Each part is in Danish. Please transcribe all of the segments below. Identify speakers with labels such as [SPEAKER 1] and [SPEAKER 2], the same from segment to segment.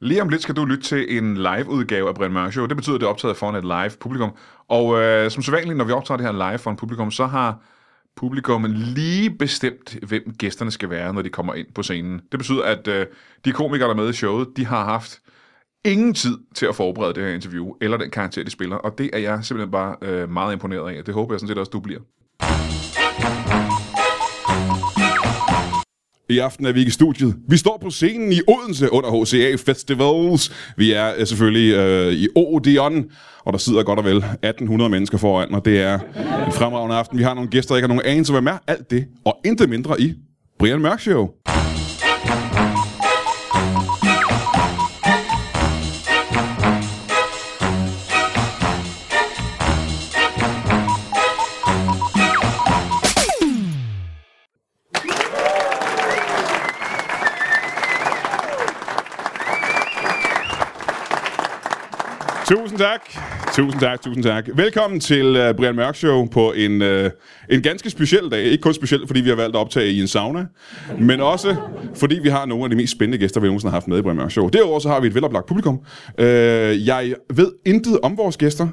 [SPEAKER 1] Lige om lidt skal du lytte til en live-udgave af Brian Mørk Show. Det betyder, at det er optaget foran et live-publikum. Og øh, som sædvanligt, når vi optager det her live foran publikum, så har publikum lige bestemt, hvem gæsterne skal være, når de kommer ind på scenen. Det betyder, at øh, de komikere, der er med i showet, de har haft ingen tid til at forberede det her interview, eller den karakter, de spiller. Og det er jeg simpelthen bare øh, meget imponeret af. Det håber jeg sådan set også, du bliver.
[SPEAKER 2] I aften er vi ikke i studiet. Vi står på scenen i Odense under HCA Festivals. Vi er øh, selvfølgelig øh, i Odeon, og der sidder godt og vel 1800 mennesker foran mig. Det er en fremragende aften. Vi har nogle gæster, der ikke har nogen anelse, hvem er alt det, og intet mindre i Brian Mørk Show. Tusind tak. Tusind tak, tusind tak. Velkommen til uh, Brian Mørk Show på en, uh, en ganske speciel dag. Ikke kun speciel, fordi vi har valgt at optage i en sauna, men også fordi vi har nogle af de mest spændende gæster, vi nogensinde har haft med i Brian Mørk Show. Derudover så har vi et veloplagt publikum. Uh, jeg ved intet om vores gæster.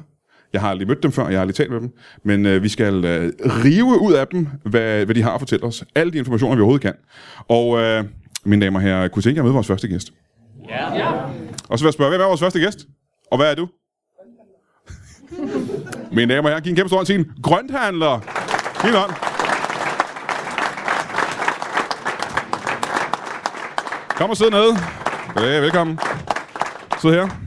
[SPEAKER 2] Jeg har aldrig mødt dem før, jeg har aldrig talt med dem. Men øh, vi skal øh, rive ud af dem, hvad, hvad de har at fortælle os. Alle de informationer, vi overhovedet kan. Og øh, mine damer og herrer, kunne I tænke jer at møde vores første gæst? Og så vil jeg spørge, hvem er vores første gæst? Og hvad er du? Mine damer og herrer, giv en kæmpe stor hånd til en grønthandler. Giv en hånd. Kom og sid ned. Ja, velkommen. Sid her.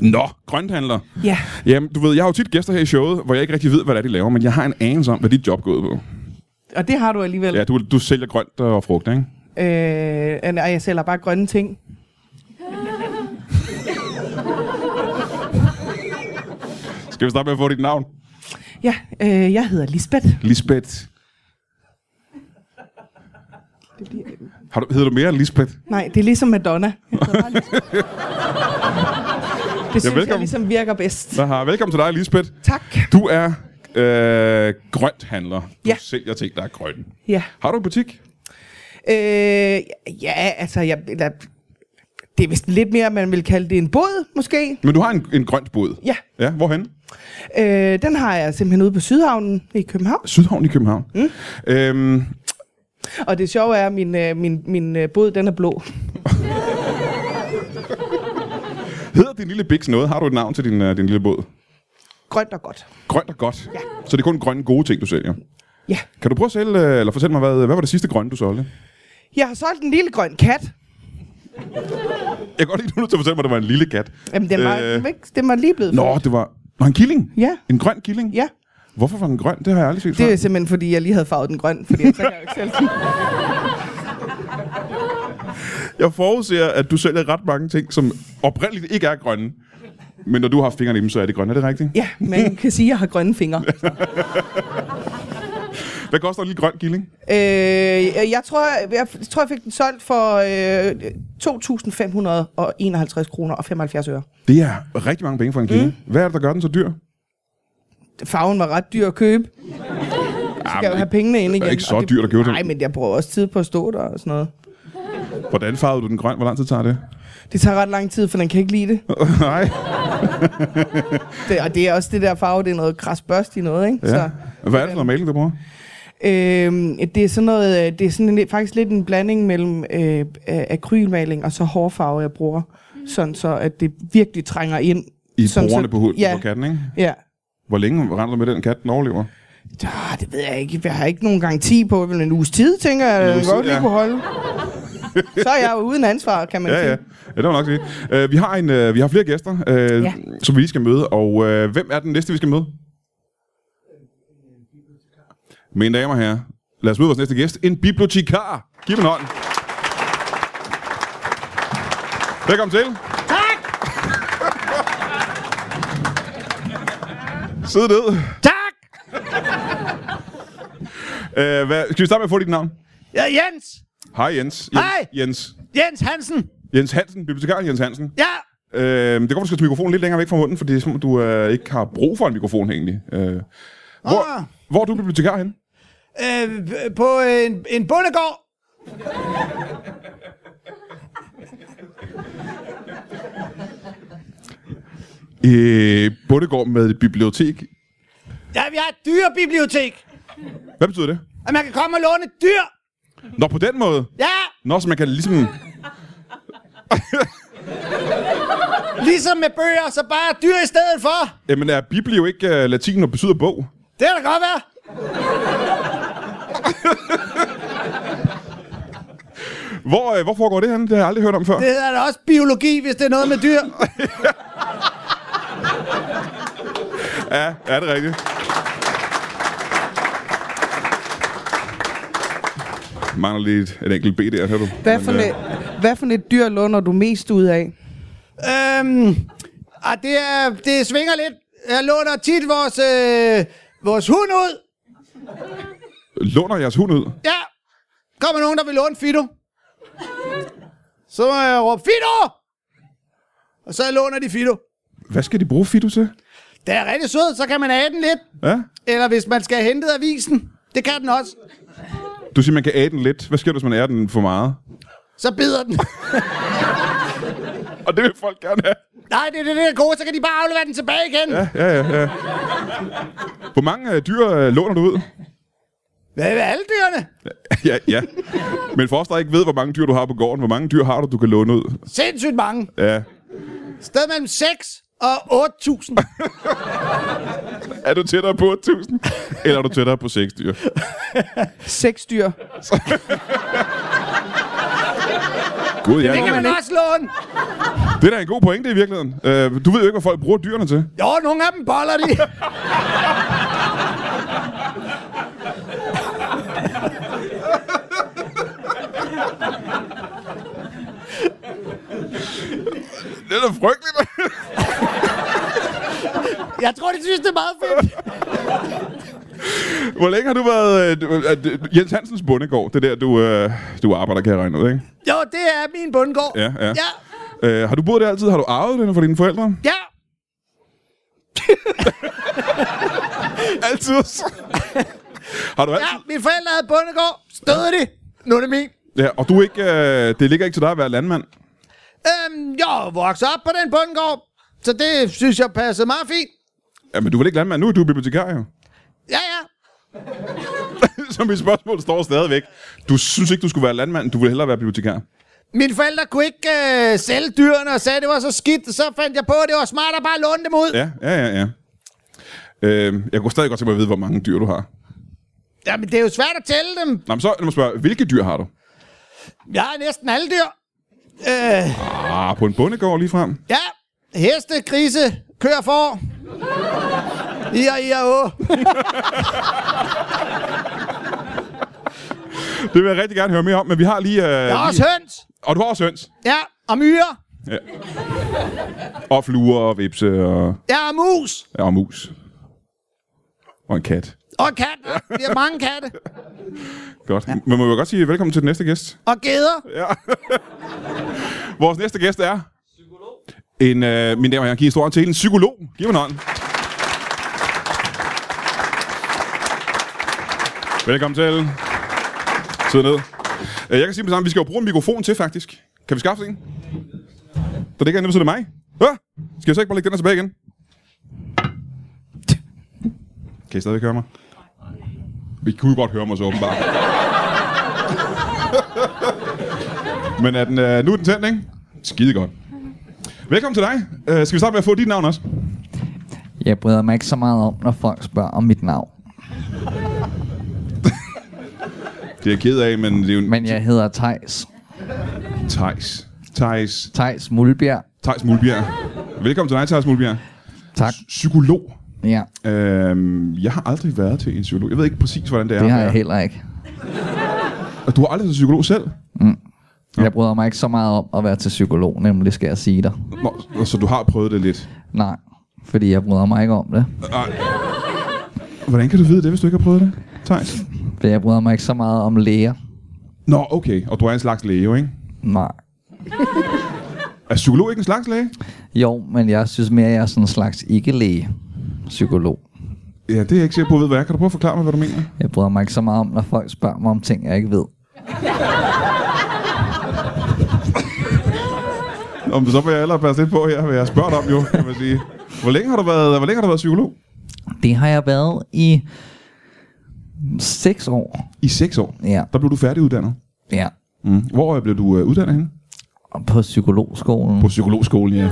[SPEAKER 2] Nå, grønthandler.
[SPEAKER 3] Ja.
[SPEAKER 2] Jamen, du ved, jeg har jo tit gæster her i showet, hvor jeg ikke rigtig ved, hvad det er, de laver, men jeg har en anelse om, hvad dit job går ud på.
[SPEAKER 3] Og det har du alligevel.
[SPEAKER 2] Ja, du, du sælger grønt og frugt, ikke?
[SPEAKER 3] Øh, nej, jeg sælger bare grønne ting.
[SPEAKER 2] Skal vi starte med at få dit navn?
[SPEAKER 3] Ja, øh, jeg hedder Lisbeth.
[SPEAKER 2] Lisbeth.
[SPEAKER 3] Det bliver...
[SPEAKER 2] Har du, hedder du mere end Lisbeth?
[SPEAKER 3] Nej, det er ligesom Madonna. Jeg hedder bare Lisbeth. Det synes jeg
[SPEAKER 2] velkommen.
[SPEAKER 3] ligesom virker bedst.
[SPEAKER 2] Aha, velkommen til dig, Lisbeth.
[SPEAKER 3] Tak.
[SPEAKER 2] Du er øh, grønthandler. Du
[SPEAKER 3] Ja.
[SPEAKER 2] sælger ting, der er grønne.
[SPEAKER 3] Ja.
[SPEAKER 2] Har du en butik?
[SPEAKER 3] Øh, ja, altså, jeg, eller, det er vist lidt mere, man vil kalde det en båd, måske.
[SPEAKER 2] Men du har en, en grønt bod.
[SPEAKER 3] Ja,
[SPEAKER 2] Ja, hvorhen?
[SPEAKER 3] øh, den har jeg simpelthen ude på Sydhavnen i København.
[SPEAKER 2] Sydhavn i København. Mm. Øhm,
[SPEAKER 3] Og det sjove er, at min, øh, min, min øh, båd, den er blå.
[SPEAKER 2] hedder din lille biks noget? Har du et navn til din, øh, din lille båd?
[SPEAKER 3] Grønt og godt.
[SPEAKER 2] Grønt og godt. Ja. Så det er kun grønne gode ting, du sælger.
[SPEAKER 3] Ja.
[SPEAKER 2] Kan du prøve at sælge, øh, eller fortælle mig, hvad, hvad var det sidste grønne, du solgte?
[SPEAKER 3] Jeg har solgt en lille grøn kat.
[SPEAKER 2] Jeg kan godt lide, at du er nødt til at fortælle mig, at det var en lille kat.
[SPEAKER 3] Jamen, den var,
[SPEAKER 2] Øh.
[SPEAKER 3] øh... den var lige blevet
[SPEAKER 2] Nå, det var, var en killing?
[SPEAKER 3] Ja.
[SPEAKER 2] En grøn killing?
[SPEAKER 3] Ja,
[SPEAKER 2] Hvorfor var den grøn? Det har jeg aldrig set
[SPEAKER 3] det
[SPEAKER 2] før.
[SPEAKER 3] er simpelthen fordi, jeg lige havde farvet den grøn, fordi så kan jeg jo ikke selv
[SPEAKER 2] Jeg forudser, at du sælger ret mange ting, som oprindeligt ikke er grønne. Men når du har fingrene i dem, så er det grønne. Er det rigtigt?
[SPEAKER 3] Ja, man kan sige, at jeg har grønne fingre.
[SPEAKER 2] Hvad koster en lille grøn killing?
[SPEAKER 3] Øh, jeg, tror, jeg, jeg tror, jeg fik den solgt for øh, 2.551 kroner og 75 øre.
[SPEAKER 2] Det er rigtig mange penge for en killing. Mm. Hvad er det, der gør den så dyr?
[SPEAKER 3] Farven var ret dyr at købe. Så skal jeg jo have pengene ind igen.
[SPEAKER 2] ikke så
[SPEAKER 3] og det-
[SPEAKER 2] dyrt at købe den.
[SPEAKER 3] Nej, men jeg bruger også tid på at stå der og sådan noget.
[SPEAKER 2] Hvordan farvede du den grøn? Hvor lang tid tager det?
[SPEAKER 3] Det tager ret lang tid, for den kan ikke lide det.
[SPEAKER 2] Nej.
[SPEAKER 3] det og det er også det der farve, det er noget krasbørst i noget, ikke?
[SPEAKER 2] Ja. Hvad er det for noget maling, du bruger?
[SPEAKER 3] Øhm, det er sådan noget, øh, det er sådan en, faktisk lidt en blanding mellem øh, øh, akrylmaling og så hårfarve, jeg bruger. Sådan så, at det virkelig trænger ind.
[SPEAKER 2] I
[SPEAKER 3] Sådan
[SPEAKER 2] borerne
[SPEAKER 3] så-
[SPEAKER 2] på, huden,
[SPEAKER 3] ja.
[SPEAKER 2] på katten, ikke?
[SPEAKER 3] Ja.
[SPEAKER 2] Hvor længe render du med den kat, den overlever?
[SPEAKER 3] Ah, det ved jeg ikke. Jeg har ikke nogen garanti på, men en uges tid, tænker jeg,
[SPEAKER 2] uges
[SPEAKER 3] jeg
[SPEAKER 2] tid,
[SPEAKER 3] godt lige
[SPEAKER 2] ja.
[SPEAKER 3] kunne holde. så er jeg jo uden ansvar, kan man
[SPEAKER 2] Ja, ja.
[SPEAKER 3] sige.
[SPEAKER 2] ja det var nok sige. Uh, vi, har en, uh, vi har flere gæster, uh, ja.
[SPEAKER 3] Ja.
[SPEAKER 2] som vi lige skal møde. Og uh, hvem er den næste, vi skal møde? Mine damer og herrer, lad os møde vores næste gæst. En bibliotekar. Giv dem en hånd. Velkommen til. Tak. Sid ned.
[SPEAKER 4] Tak!
[SPEAKER 2] Uh, hvad, skal vi starte med at få dit navn?
[SPEAKER 4] Ja, Jens!
[SPEAKER 2] Hej Jens. Jens.
[SPEAKER 4] Hej.
[SPEAKER 2] Jens.
[SPEAKER 4] Jens Hansen!
[SPEAKER 2] Jens Hansen, bibliotekaren Jens Hansen.
[SPEAKER 4] Ja!
[SPEAKER 2] Øh, det går, godt, du skal tage mikrofonen lidt længere væk fra munden, for det er som om, du øh, ikke har brug for en mikrofon egentlig. Øh, hvor,
[SPEAKER 4] Ah.
[SPEAKER 2] hvor er du bibliotekar henne?
[SPEAKER 4] Øh, på en, en bondegård!
[SPEAKER 2] Øh, Bundegård med et bibliotek.
[SPEAKER 4] Ja, vi har et dyrebibliotek.
[SPEAKER 2] Hvad betyder det?
[SPEAKER 4] Og man kan komme og låne et dyr.
[SPEAKER 2] Nå, på den måde.
[SPEAKER 4] Ja,
[SPEAKER 2] Nå, så man kan ligesom...
[SPEAKER 4] ligesom med bøger, så bare dyr i stedet for.
[SPEAKER 2] Jamen, er biblio ikke uh, latin og betyder bog?
[SPEAKER 4] Det kan da godt være.
[SPEAKER 2] Hvor, uh, hvor foregår det henne? Det har jeg aldrig hørt om før.
[SPEAKER 4] Det hedder da også biologi, hvis det er noget med dyr.
[SPEAKER 2] Ja, er det rigtigt? Mangler lige et, et enkelt B der, hører du?
[SPEAKER 3] Hvad
[SPEAKER 2] Men,
[SPEAKER 3] for,
[SPEAKER 2] øh,
[SPEAKER 3] et, hvad for et dyr låner du mest ud af?
[SPEAKER 4] Øhm, ah, det, er, det svinger lidt. Jeg låner tit vores, øh, vores hund ud.
[SPEAKER 2] øh, Låner jeres hund ud?
[SPEAKER 4] Ja, kommer nogen, der vil låne Fido. Så må jeg råbe, Fido! Og så låner de Fido.
[SPEAKER 2] Hvad skal de bruge Fido til?
[SPEAKER 4] Den er rigtig sød, så kan man have den lidt.
[SPEAKER 2] Ja?
[SPEAKER 4] Eller hvis man skal have hentet avisen. Det kan den også.
[SPEAKER 2] Du siger, man kan æde den lidt. Hvad sker der, hvis man æder den for meget?
[SPEAKER 4] Så bider den.
[SPEAKER 2] Og det vil folk gerne have.
[SPEAKER 4] Nej, det er det, der er gode. Så kan de bare aflevere den tilbage igen. Ja.
[SPEAKER 2] Ja, ja, ja. Hvor mange øh, dyr øh, låner du ud?
[SPEAKER 4] Hvad med alle dyrene?
[SPEAKER 2] ja, ja. Men for os, der ikke ved, hvor mange dyr du har på gården, hvor mange dyr har du, du kan låne ud?
[SPEAKER 4] Sindssygt mange.
[SPEAKER 2] Ja.
[SPEAKER 4] Sted mellem 6 og 8.000.
[SPEAKER 2] Er du tættere på 1.000? Eller er du tættere på 6 dyr?
[SPEAKER 3] Seks dyr.
[SPEAKER 2] Gud, ja.
[SPEAKER 4] Det kan man også låne.
[SPEAKER 2] Det er da en god pointe i virkeligheden. Øh, du ved jo ikke, hvad folk bruger dyrene til.
[SPEAKER 4] Jo, nogle af dem boller de.
[SPEAKER 2] Det er da frygteligt.
[SPEAKER 4] Jeg tror, de synes, det er meget fedt.
[SPEAKER 2] Hvor længe har du været... Øh, du- øh, du- Jens Hansens bondegård, det er der, du, øh, du arbejder, kan jeg regne ud, ikke?
[SPEAKER 4] Jo, det er min bundgård.
[SPEAKER 2] Ja, ja.
[SPEAKER 4] Ja,
[SPEAKER 2] Øh, har du boet der altid? Har du arvet den fra dine forældre?
[SPEAKER 4] ja.
[SPEAKER 2] Altid. har du
[SPEAKER 4] ja.
[SPEAKER 2] altid?
[SPEAKER 4] Mine forældre havde bundegård. Stødte de. Nu er det min.
[SPEAKER 2] Ja, og du er ikke, øh, det ligger ikke til dig at være landmand.
[SPEAKER 4] Øhm, jeg er vokset op på den bundgård. Så det synes jeg passede meget fint.
[SPEAKER 2] Ja, men du er vel ikke landmand nu, er du er bibliotekar jo.
[SPEAKER 4] Ja, ja.
[SPEAKER 2] Så mit spørgsmål står stadigvæk. Du synes ikke, du skulle være landmand, du vil hellere være bibliotekar.
[SPEAKER 4] Mine forældre kunne ikke øh, sælge dyrene og sagde, at det var så skidt. Så fandt jeg på, at det var smart at bare låne dem ud. Ja.
[SPEAKER 2] Ja, ja, ja, ja. Øh, jeg kunne stadig godt tænke mig at vide, hvor mange dyr du har.
[SPEAKER 4] Jamen, det er jo svært at tælle dem.
[SPEAKER 2] Nå, men så lad mig spørge, hvilke dyr har du?
[SPEAKER 4] Jeg har næsten alle dyr. Øh,
[SPEAKER 2] Ah, på en bondegård lige frem.
[SPEAKER 4] ja. Heste, grise, køer for. I og I og å.
[SPEAKER 2] Det vil jeg rigtig gerne høre mere om, men vi har lige... Øh,
[SPEAKER 4] Jeg har
[SPEAKER 2] lige...
[SPEAKER 4] også høns.
[SPEAKER 2] Og du har også høns.
[SPEAKER 4] Ja, og myrer.
[SPEAKER 2] Og fluer og vipse og,
[SPEAKER 4] Ja, og mus.
[SPEAKER 2] og mus. Og en kat.
[SPEAKER 4] Og katte. Vi har mange katte.
[SPEAKER 2] Godt. Ja. Men må jeg godt sige velkommen til den næste gæst.
[SPEAKER 4] Og geder.
[SPEAKER 2] Vores næste gæst er... En, øh, mine damer og herrer, giv en stor hånd til en psykolog. Giv ham en hånd. Velkommen til. Sid ned. Øh, Jeg kan sige med det samme, vi skal jo bruge en mikrofon til, faktisk. Kan vi skaffe en? Der ligger en, det betyder det mig. Hå? Skal jeg så ikke bare lægge den her tilbage igen? Kan I stadigvæk høre mig? I kunne jo godt høre mig så åbenbart. Men er den, øh, nu er den tændt, ikke? Skide godt. Velkommen til dig. Øh, skal vi starte med at få dit navn også?
[SPEAKER 5] Jeg bryder mig ikke så meget om, når folk spørger om mit navn.
[SPEAKER 2] Det er jeg ked af, men det er jo...
[SPEAKER 5] Men jeg hedder Tejs.
[SPEAKER 2] Thijs. Thijs.
[SPEAKER 5] Tejs Mulbjerg.
[SPEAKER 2] Thijs Mulbjerg. Velkommen til dig, Thijs Mulbjerg.
[SPEAKER 5] Tak.
[SPEAKER 2] Psykolog.
[SPEAKER 5] Ja,
[SPEAKER 2] Øhm, jeg har aldrig været til en psykolog. Jeg ved ikke præcis, hvordan det er.
[SPEAKER 5] det har
[SPEAKER 2] at
[SPEAKER 5] jeg
[SPEAKER 2] være-
[SPEAKER 5] heller ikke.
[SPEAKER 2] Og du har aldrig været til psykolog selv?
[SPEAKER 5] Jeg bryder mig ikke så meget om at være til psykolog, nemlig skal jeg sige dig.
[SPEAKER 2] Nå, så du har prøvet det lidt.
[SPEAKER 5] Nej, fordi jeg bryder mig ikke om det.
[SPEAKER 2] Hvordan kan du vide det, hvis du ikke har prøvet det, Thijs?
[SPEAKER 5] For jeg bryder mig ikke så meget om læger.
[SPEAKER 2] Nå, okay. Og du er en slags læge, jo, ikke?
[SPEAKER 5] Nej.
[SPEAKER 2] Er psykolog ikke en slags læge?
[SPEAKER 5] Jo, men jeg synes mere, at jeg er sådan en slags ikke-læge psykolog.
[SPEAKER 2] Ja, det er jeg ikke sikker på, at ved, hvad er. Kan du prøve at forklare mig, hvad du mener?
[SPEAKER 5] Jeg bryder mig ikke så meget om, når folk spørger mig om ting, jeg ikke ved.
[SPEAKER 2] Om, så vil jeg hellere passe lidt på her, hvad jeg spørger dig om jo, kan man sige. Hvor længe har du været, hvor længe har du været psykolog?
[SPEAKER 5] Det har jeg været i 6 år.
[SPEAKER 2] I seks år.
[SPEAKER 5] Ja,
[SPEAKER 2] Der blev du færdiguddannet.
[SPEAKER 5] ja.
[SPEAKER 2] Mm. Hvor øh, blev du øh, uddannet henne?
[SPEAKER 5] Og På psykologskolen.
[SPEAKER 2] På psykologskolen, ja.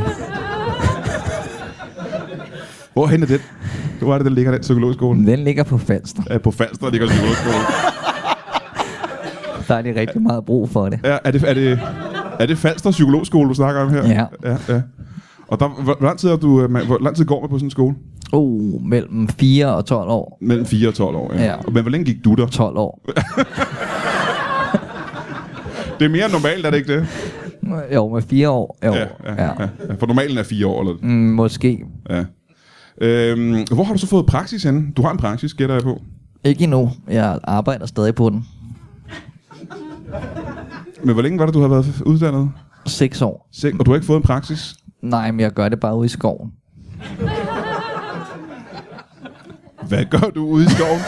[SPEAKER 2] Hvor hen er den? Hvor er det, der ligger den psykologskole?
[SPEAKER 5] Den ligger på Falster.
[SPEAKER 2] Øh, På Falster ligger psykologskolen.
[SPEAKER 5] Der er de rigtig meget brug for det.
[SPEAKER 2] Ja, er det, er det, er det Falster psykologskole, du snakker om her?
[SPEAKER 5] Ja.
[SPEAKER 2] ja, ja. Og der, hvor, hvor, lang tid er du, øh, man- hvor lang tid går man på sådan en skole?
[SPEAKER 5] Oh, mellem 4 og 12 år.
[SPEAKER 2] Mellem 4 og 12 år, ja.
[SPEAKER 5] Ja.
[SPEAKER 2] ja. Men hvor længe gik du der?
[SPEAKER 5] 12 år.
[SPEAKER 2] Det er mere normalt, er det ikke det?
[SPEAKER 5] Jo, med 4 år. Jo, ja, ja, ja.
[SPEAKER 2] ja. For normalen er 4 år, eller?
[SPEAKER 5] Mm, måske.
[SPEAKER 2] Ja. Øhm, hvor har du så fået praksis henne? Du har en praksis, gætter jeg på.
[SPEAKER 5] Ikke endnu. Jeg arbejder stadig på den.
[SPEAKER 2] Men hvor længe var det, du har været uddannet?
[SPEAKER 5] 6 år.
[SPEAKER 2] Sek- og du har ikke fået en praksis?
[SPEAKER 5] Nej, men jeg gør det bare ude i skoven.
[SPEAKER 2] Hvad gør du ude i skoven?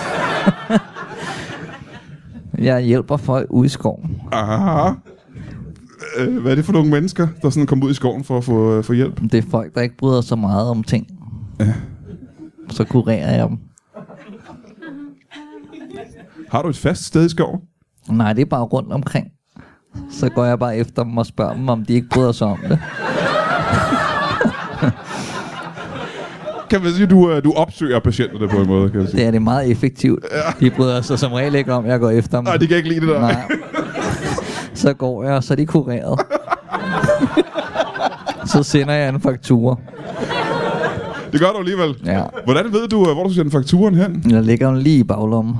[SPEAKER 5] Jeg hjælper folk ude i skoven.
[SPEAKER 2] Aha. Øh, hvad er det for nogle mennesker, der sådan kom ud i skoven for at få, øh, få hjælp?
[SPEAKER 5] Det er folk, der ikke bryder sig meget om ting. Så kurerer jeg dem.
[SPEAKER 2] Har du et fast sted i skoven?
[SPEAKER 5] Nej, det er bare rundt omkring. Så går jeg bare efter dem og spørger dem, om de ikke bryder sig om det.
[SPEAKER 2] Kan man sige, at du, øh, du opsøger patienterne på en måde, kan man sige.
[SPEAKER 5] Det er det meget effektivt. De bryder sig som regel ikke om, at jeg går efter dem.
[SPEAKER 2] Nej, de kan ikke lide det der.
[SPEAKER 5] Nej. Så går jeg, og så er de kureret. så sender jeg en faktura.
[SPEAKER 2] Det gør du alligevel.
[SPEAKER 5] Ja.
[SPEAKER 2] Hvordan ved du, øh, hvor du skal sende fakturen hen?
[SPEAKER 5] Jeg ligger den lige i baglommen.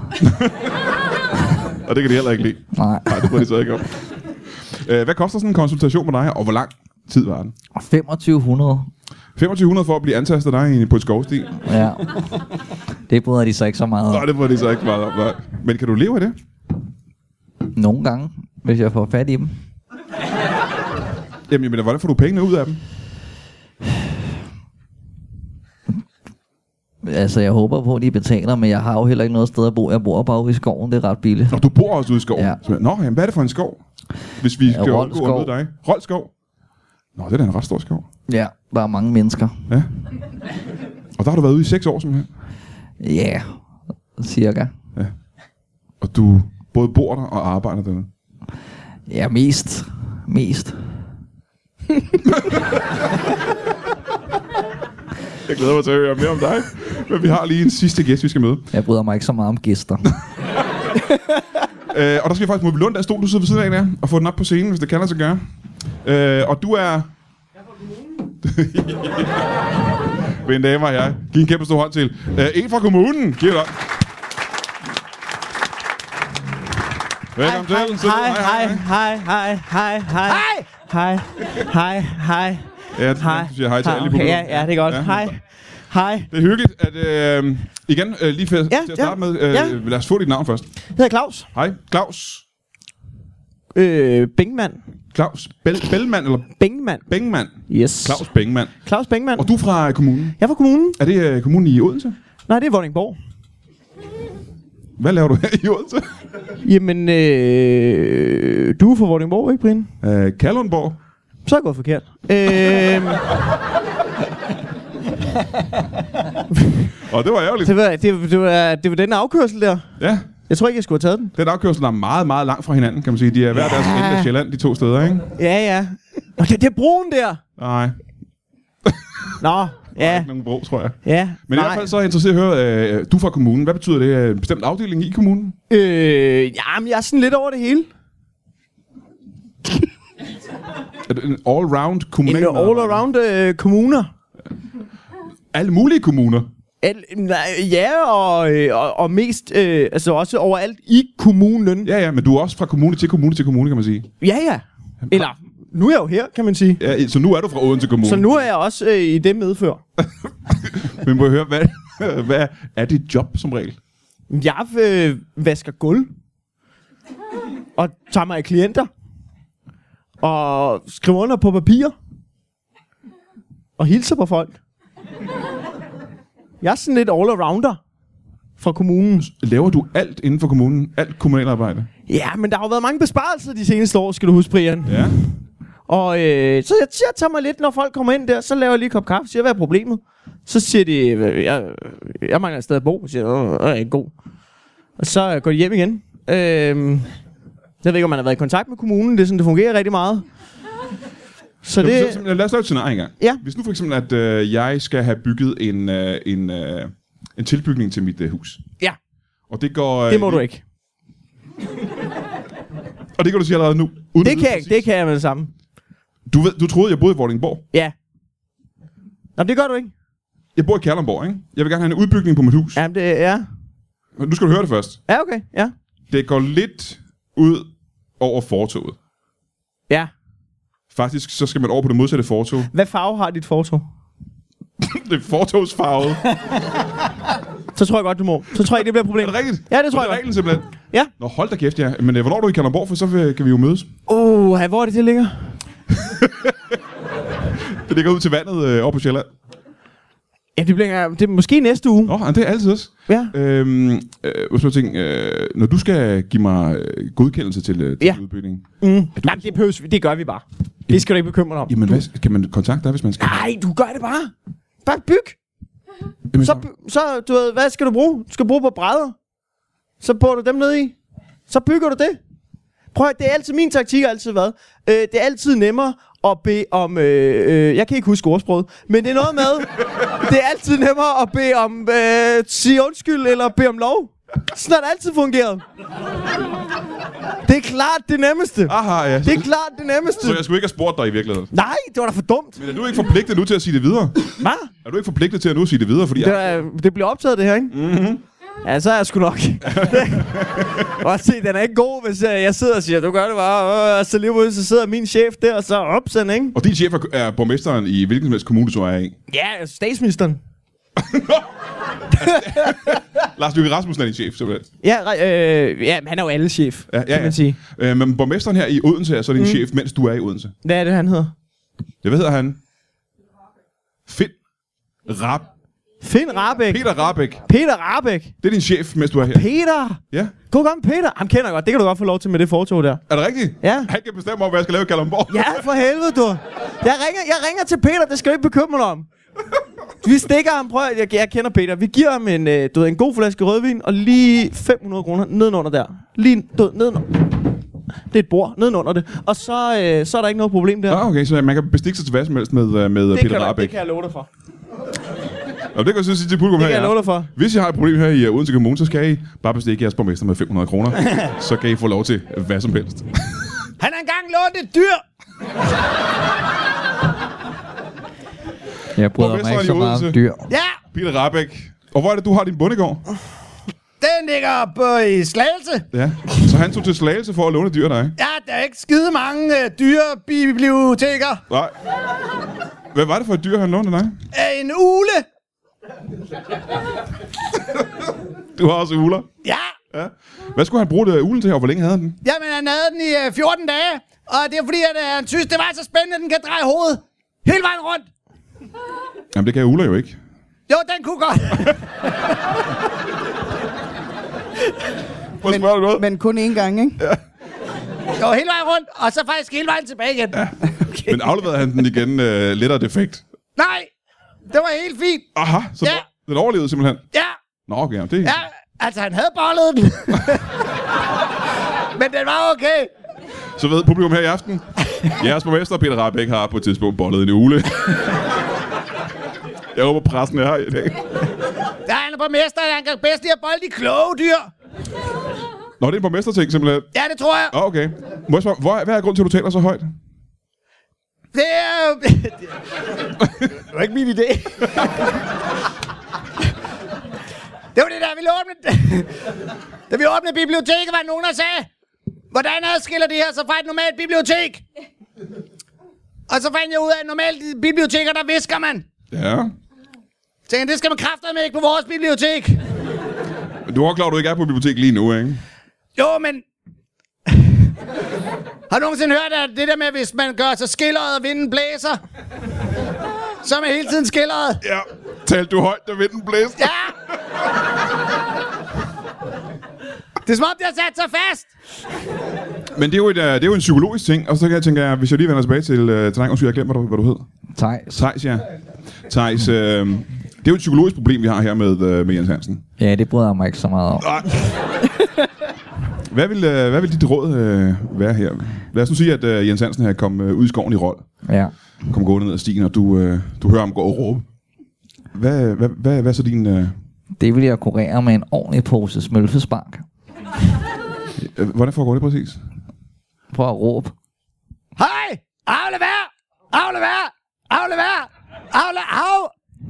[SPEAKER 2] Og det kan de heller ikke lide.
[SPEAKER 5] Nej.
[SPEAKER 2] Nej, det bryder de sig ikke om. Øh, hvad koster sådan en konsultation med dig, og hvor lang tid var den?
[SPEAKER 5] 2500.
[SPEAKER 2] 2500 for at blive antastet af dig i- på et skovsti?
[SPEAKER 5] Ja. Det bryder de sig ikke så meget
[SPEAKER 2] Nej,
[SPEAKER 5] om.
[SPEAKER 2] det bryder de sig ikke meget om. Nej. Men kan du leve af det?
[SPEAKER 5] Nogle gange, hvis jeg får fat i dem.
[SPEAKER 2] Jamen, jeg mener, hvordan får du pengene ud af dem?
[SPEAKER 5] Altså, jeg håber på, at de betaler, men jeg har jo heller ikke noget sted at bo. Jeg bor bare ude i skoven, det er ret billigt.
[SPEAKER 2] Nå, du bor også ude i skoven.
[SPEAKER 5] Ja.
[SPEAKER 2] Ja. Nå, jamen, hvad er det for en skov? Hvis vi skal
[SPEAKER 5] Rold
[SPEAKER 2] undgå at
[SPEAKER 5] Skov.
[SPEAKER 2] møde dig. Roldskov? Nå, det er da en ret stor skov.
[SPEAKER 5] Ja, der er mange mennesker.
[SPEAKER 2] Ja. Og der har du været ude i seks år simpelthen.
[SPEAKER 5] Ja, cirka.
[SPEAKER 2] Og du både bor der og arbejder der.
[SPEAKER 5] Ja, mest. Mest.
[SPEAKER 2] Jeg glæder mig til at høre mere om dig. Men vi har lige en sidste gæst, vi skal møde.
[SPEAKER 5] Jeg bryder mig ikke så meget om gæster.
[SPEAKER 2] Øh, og der skal vi faktisk Moby Lund, der stol, du sidder ved siden af der, og få den op på scenen, hvis det kan lade sig gøre. Øh, og du er... Mine damer og jeg, giv en kæmpe stor hånd til. Øh, en fra kommunen, giv det op. Velkommen
[SPEAKER 6] Hej,
[SPEAKER 2] til. Sidde.
[SPEAKER 6] hej, hej, hej, hej, hej, hej. Hej! Hej, hej,
[SPEAKER 2] Ja, det,
[SPEAKER 6] hej.
[SPEAKER 2] du siger hej til alle i
[SPEAKER 6] okay,
[SPEAKER 2] Moby
[SPEAKER 6] ja,
[SPEAKER 2] Lund.
[SPEAKER 6] ja, det er godt.
[SPEAKER 2] Ja.
[SPEAKER 6] Hej, hej.
[SPEAKER 2] Det er hyggeligt, at... Øh, igen, øh, lige for, ja, til at
[SPEAKER 6] ja,
[SPEAKER 2] starte med, øh,
[SPEAKER 6] ja.
[SPEAKER 2] lad os få dit navn først.
[SPEAKER 6] Jeg hedder Claus
[SPEAKER 2] Hej, Claus.
[SPEAKER 6] øh, Bengman.
[SPEAKER 2] Claus Bell, Bellman, eller
[SPEAKER 6] Bengman.
[SPEAKER 2] Bengman.
[SPEAKER 6] Yes.
[SPEAKER 2] Claus Bengman.
[SPEAKER 6] Claus Bengman.
[SPEAKER 2] Og du er fra øh, kommunen.
[SPEAKER 6] Jeg er fra kommunen.
[SPEAKER 2] Er det øh, kommunen i Odense?
[SPEAKER 6] Nej, det er Vordingborg.
[SPEAKER 2] Hvad laver du her i Odense?
[SPEAKER 6] Jamen, øh, du er fra Vordingborg, ikke, Brian?
[SPEAKER 2] Øh, Kalundborg.
[SPEAKER 6] Så er jeg gået forkert. Øh,
[SPEAKER 2] Og det var ærgerligt.
[SPEAKER 6] det, var, det, det, var, det var den afkørsel der.
[SPEAKER 2] Ja,
[SPEAKER 6] Jeg tror ikke, jeg skulle have taget den.
[SPEAKER 2] den afkørsel er meget, meget langt fra hinanden, kan man sige. De er hver deres ende af Sjælland, de to steder, ikke?
[SPEAKER 6] Ja, ja. Og det, det er broen der.
[SPEAKER 2] Nej,
[SPEAKER 6] Nå, ja,
[SPEAKER 2] ikke nogen bro, tror jeg.
[SPEAKER 6] ja.
[SPEAKER 2] Men i
[SPEAKER 6] nej.
[SPEAKER 2] hvert fald så er jeg interesseret i at høre, øh, du er fra kommunen. Hvad betyder det? Øh, En bestemt afdeling i kommunen?
[SPEAKER 6] Øh, jamen, jeg er sådan lidt over det hele.
[SPEAKER 2] Er det en all-round
[SPEAKER 6] En
[SPEAKER 2] kommunal?
[SPEAKER 6] all-around øh, kommuner.
[SPEAKER 2] Alle mulige kommuner.
[SPEAKER 6] Al, nej, ja, og, øh, og, og mest, øh, altså også overalt i kommunen. Ja,
[SPEAKER 2] Ja, ja, men du er også fra kommune til kommune til kommune, kan man sige.
[SPEAKER 6] ja. ja. Eller, nu er jeg jo her, kan man sige.
[SPEAKER 2] Ja, så nu er du fra Odense Kommune.
[SPEAKER 6] Så nu er jeg også øh, i det medfør.
[SPEAKER 2] Men må jeg høre, hvad, hvad er dit job som regel?
[SPEAKER 6] Jeg øh, vasker gulv. Og tager mig af klienter. Og skriver under på papir. Og hilser på folk. Jeg er sådan lidt all-arounder fra kommunen.
[SPEAKER 2] Laver du alt inden for kommunen? Alt kommunalarbejde?
[SPEAKER 6] Ja, men der har jo været mange besparelser de seneste år, skal du huske, Brian.
[SPEAKER 2] Ja.
[SPEAKER 6] Og øh, så jeg, jeg tager mig lidt, når folk kommer ind der, så laver jeg lige en kop kaffe, siger, hvad er problemet? Så siger de, "Øh, jeg, jeg mangler et sted at bo, siger, "Åh, det er ikke god. Og så øh, går de hjem igen. Øh, jeg ved ikke, om man har været i kontakt med kommunen, det er sådan, det fungerer rigtig meget. Så
[SPEAKER 2] Jamen,
[SPEAKER 6] det,
[SPEAKER 2] så- så- Lad os lave et scenarie engang.
[SPEAKER 6] Ja.
[SPEAKER 2] Hvis nu for eksempel, at øh, jeg skal have bygget en, øh, en, øh, en tilbygning til mit øh, hus.
[SPEAKER 6] Ja.
[SPEAKER 2] Og det går... Øh,
[SPEAKER 6] det må du ikke.
[SPEAKER 2] Og det kan du sige allerede nu. Uden at
[SPEAKER 6] Det
[SPEAKER 2] vide
[SPEAKER 6] kan, jeg,
[SPEAKER 2] præcis.
[SPEAKER 6] det kan jeg med det samme.
[SPEAKER 2] Du, ved, du troede, jeg boede i Vordingborg.
[SPEAKER 6] Ja. Nå, men det gør du ikke.
[SPEAKER 2] Jeg bor i Kærlumborg, ikke? Jeg vil gerne have en udbygning på mit hus.
[SPEAKER 6] Jamen, det er... Ja.
[SPEAKER 2] Men Nu skal du høre det først.
[SPEAKER 6] ja, okay. Ja.
[SPEAKER 2] Det går lidt ud over fortoget.
[SPEAKER 6] Ja.
[SPEAKER 2] Faktisk, så skal man over på det modsatte fortog.
[SPEAKER 6] Hvad farve har dit fortog?
[SPEAKER 2] Det er fortogsfarvet.
[SPEAKER 6] Så tror jeg godt, du må. Så tror jeg, ikke, det bliver et problem.
[SPEAKER 2] Er det rigtigt?
[SPEAKER 6] Ja, det tror
[SPEAKER 2] Det er
[SPEAKER 6] jeg
[SPEAKER 2] reglen simpelthen.
[SPEAKER 6] Ja.
[SPEAKER 2] Nå, hold da kæft, ja. Men øh, hvornår er du i Kalundborg, for så øh, kan vi jo mødes.
[SPEAKER 6] Åh, uh, hvor er det, det ligger?
[SPEAKER 2] Det ligger ud til vandet øh, over på Sjælland.
[SPEAKER 6] Ja, det bliver det er måske næste uge.
[SPEAKER 2] Nå, ja, det er altid også.
[SPEAKER 6] Ja.
[SPEAKER 2] Øhm, øh, hvad skal jeg tænke, øh, når du skal give mig øh, godkendelse til, øh, til
[SPEAKER 6] Ja.
[SPEAKER 2] udbygning,
[SPEAKER 6] Mm. Nej, det, behøves, vi- det gør vi bare. Det skal du ikke bekymre dig om.
[SPEAKER 2] jamen hvad, kan man kontakte dig, hvis man skal?
[SPEAKER 6] Nej, du gør det bare. Bare byg.
[SPEAKER 2] Jamen,
[SPEAKER 6] Ah, Så, by- så, du ved, hvad skal du bruge? Du skal bruge på brædder. Så bor du dem ned i. Så bygger du det. Prøv at, det er altid min taktik, har altid været. Øh, det er altid nemmere at bede om... Øh, øh, jeg kan ikke huske ordsproget, men det er noget med... det er altid nemmere at bede om... Øh, sige undskyld eller bede om lov. Sådan har det altid fungeret. Det er klart det nemmeste.
[SPEAKER 2] Aha, ja.
[SPEAKER 6] Det er klart det nemmeste.
[SPEAKER 2] Så Ah. jeg skulle ikke have spurgt dig i virkeligheden.
[SPEAKER 6] Nej, det var da for dumt.
[SPEAKER 2] Men er du ikke forpligtet nu til at sige det videre?
[SPEAKER 6] Hvad?
[SPEAKER 2] Er du ikke forpligtet til at nu sige det videre? Fordi
[SPEAKER 6] Det, er, det bliver optaget, det her, ikke? Mm-hmm. Ja, så er jeg sgu nok. og se, den er ikke god, hvis jeg, jeg sidder og siger, du gør det bare, øh, og så lige ud, så sidder min chef der, og så opsend, ikke?
[SPEAKER 2] Og din chef er, er borgmesteren i hvilken som helst kommune, du så er i.
[SPEAKER 6] Ja, statsministeren.
[SPEAKER 2] Lars Løkke Rasmussen er din chef, simpelthen.
[SPEAKER 6] Ja, re- øh, ja, men han er jo alle chef, ja, ja, kan man sige.
[SPEAKER 2] Øh, men borgmesteren her i Odense er så din mm. chef, mens du er i Odense.
[SPEAKER 6] Hvad er det, han hedder?
[SPEAKER 2] Ja, hvad hedder han? Finn Rab.
[SPEAKER 6] Finn Rabeck.
[SPEAKER 2] Peter Rabeck.
[SPEAKER 6] Peter Rabeck.
[SPEAKER 2] Det er din chef, mens du er her.
[SPEAKER 6] Peter!
[SPEAKER 2] Ja.
[SPEAKER 6] God gang, Peter. Ham kender jeg godt. Det kan du godt få lov til med det fortog der.
[SPEAKER 2] Er det rigtigt?
[SPEAKER 6] Ja.
[SPEAKER 2] Han kan bestemme om, hvad jeg skal lave i Kalundborg.
[SPEAKER 6] Ja, for helvede, du. Jeg ringer, jeg ringer til Peter, det skal du ikke bekymre dig om. Vi stikker ham, prøv at- jeg, jeg kender Peter. Vi giver ham en, øh, du ved, en god flaske rødvin og lige 500 kroner nedenunder der. Lige du ved, nedenunder. Det er et bord nedenunder det. Og så, øh, så er der ikke noget problem der.
[SPEAKER 2] Ah, okay, så man kan bestikke sig til hvad som helst med, øh, med øh,
[SPEAKER 6] det,
[SPEAKER 2] Peter
[SPEAKER 6] kan du, det
[SPEAKER 2] Rabeck.
[SPEAKER 6] kan jeg love dig for.
[SPEAKER 2] Og det kan jeg så sige til publikum
[SPEAKER 6] Det
[SPEAKER 2] her.
[SPEAKER 6] kan jeg
[SPEAKER 2] i
[SPEAKER 6] love
[SPEAKER 2] aften.
[SPEAKER 6] dig for.
[SPEAKER 2] Hvis I har et problem her i øh, Odense Kommune, så skal I bare bestikke jeres borgmester med 500 kroner. så kan I få lov til hvad som helst.
[SPEAKER 4] Han har engang lånt et dyr!
[SPEAKER 5] Jeg bryder mig
[SPEAKER 2] Borgmesteren
[SPEAKER 5] ikke så
[SPEAKER 2] i
[SPEAKER 5] meget om
[SPEAKER 2] Odense.
[SPEAKER 5] dyr.
[SPEAKER 4] Ja,
[SPEAKER 2] Peter Rabeck. Og hvor er det, du har din bondegård?
[SPEAKER 4] den ligger på i Slagelse.
[SPEAKER 2] Ja. Så han tog til slagelse for at låne dyr af dig?
[SPEAKER 4] Ja, der er ikke skide mange øh, dyrebiblioteker.
[SPEAKER 2] Nej. Hvad var det for et dyr, han lånte af dig?
[SPEAKER 4] Øh, en ule.
[SPEAKER 2] Du har også uler.
[SPEAKER 4] Ja,
[SPEAKER 2] Hvad skulle han bruge det, ulen til, og hvor længe havde han den?
[SPEAKER 4] jamen han havde den i øh, 14 dage. Og det er fordi, at øh, han synes, det var så spændende, at den kan dreje hovedet. Hele vejen rundt.
[SPEAKER 2] Jamen, det kan uler jo ikke.
[SPEAKER 4] Jo, den kunne godt.
[SPEAKER 2] Prøv at spørge dig noget. Men,
[SPEAKER 3] Men kun én gang, ikke?
[SPEAKER 4] Jo, hele vejen rundt. Og så faktisk hele vejen tilbage igen. Ja.
[SPEAKER 2] men afleverede han den igen øh, lidt af defekt?
[SPEAKER 4] Nej, det var helt fint.
[SPEAKER 2] Aha, så
[SPEAKER 4] Ja.
[SPEAKER 2] ja. den overlevede simpelthen.
[SPEAKER 4] Ja,
[SPEAKER 2] Nå, okay, jamen, det
[SPEAKER 4] ja. Altså, han havde bollet den. Men den var okay.
[SPEAKER 2] Så ved publikum her i aften, jeres borgmester Peter Rabeck har på et tidspunkt bollet en ule. Jeg håber, pressen er her i dag.
[SPEAKER 4] Der er en borgmester, han kan bedst lide at bolde de kloge dyr.
[SPEAKER 2] Nå, det er en borgmesterting simpelthen.
[SPEAKER 4] Ja, det tror jeg.
[SPEAKER 2] Nå, okay. Må jeg spørge, hvor, hvad er grunden til, at du taler så højt?
[SPEAKER 4] Det er...
[SPEAKER 6] Det var ikke min idé.
[SPEAKER 4] Det var det der, vi åbnede... da vi åbnede biblioteket, var der nogen, der sagde, hvordan adskiller det her sig fra et normalt bibliotek? Og så fandt jeg ud af, at normalt i biblioteker, der visker man.
[SPEAKER 2] Ja.
[SPEAKER 4] Jeg Tænkte, det skal man kraftedeme ikke på vores bibliotek.
[SPEAKER 2] Men Du er godt klar, at du ikke er på biblioteket lige nu, ikke?
[SPEAKER 4] Jo, men... Har du nogensinde hørt, at det der med, hvis man gør sig skilleret og vinden blæser, så er man hele tiden skilleret?
[SPEAKER 2] Ja. Talte du højt, da vinden blæste?
[SPEAKER 4] Ja! Det er som om, det har sat sig fast.
[SPEAKER 2] Men det er, jo et, øh, det er jo en psykologisk ting, og så kan jeg tænke, at hvis jeg lige vender tilbage til, øh, til dig, undskyld, jeg glemmer, hvad du, hvad du hed.
[SPEAKER 5] Thijs.
[SPEAKER 2] Thijs, ja. Thijs, øh, det er jo et psykologisk problem, vi har her med, øh, med Jens Hansen.
[SPEAKER 5] Ja, det bryder jeg mig ikke så meget om.
[SPEAKER 2] Hvad vil, øh, hvad vil dit råd øh, være her? Lad os nu sige, at øh, Jens Hansen her kom øh, ud i skoven i rold.
[SPEAKER 5] Ja.
[SPEAKER 2] Kom gående ned ad stien, og du, øh, du hører ham gå og råbe. Hvad, hvad, hvad, hvad er så din... Øh,
[SPEAKER 5] Det vil jeg kurere med en ordentlig pose smølfespark.
[SPEAKER 2] øh, hvordan foregår det præcis?
[SPEAKER 5] Prøv at råbe.
[SPEAKER 4] Hej! Aflever! Aflever! Aflever! Afle... Af!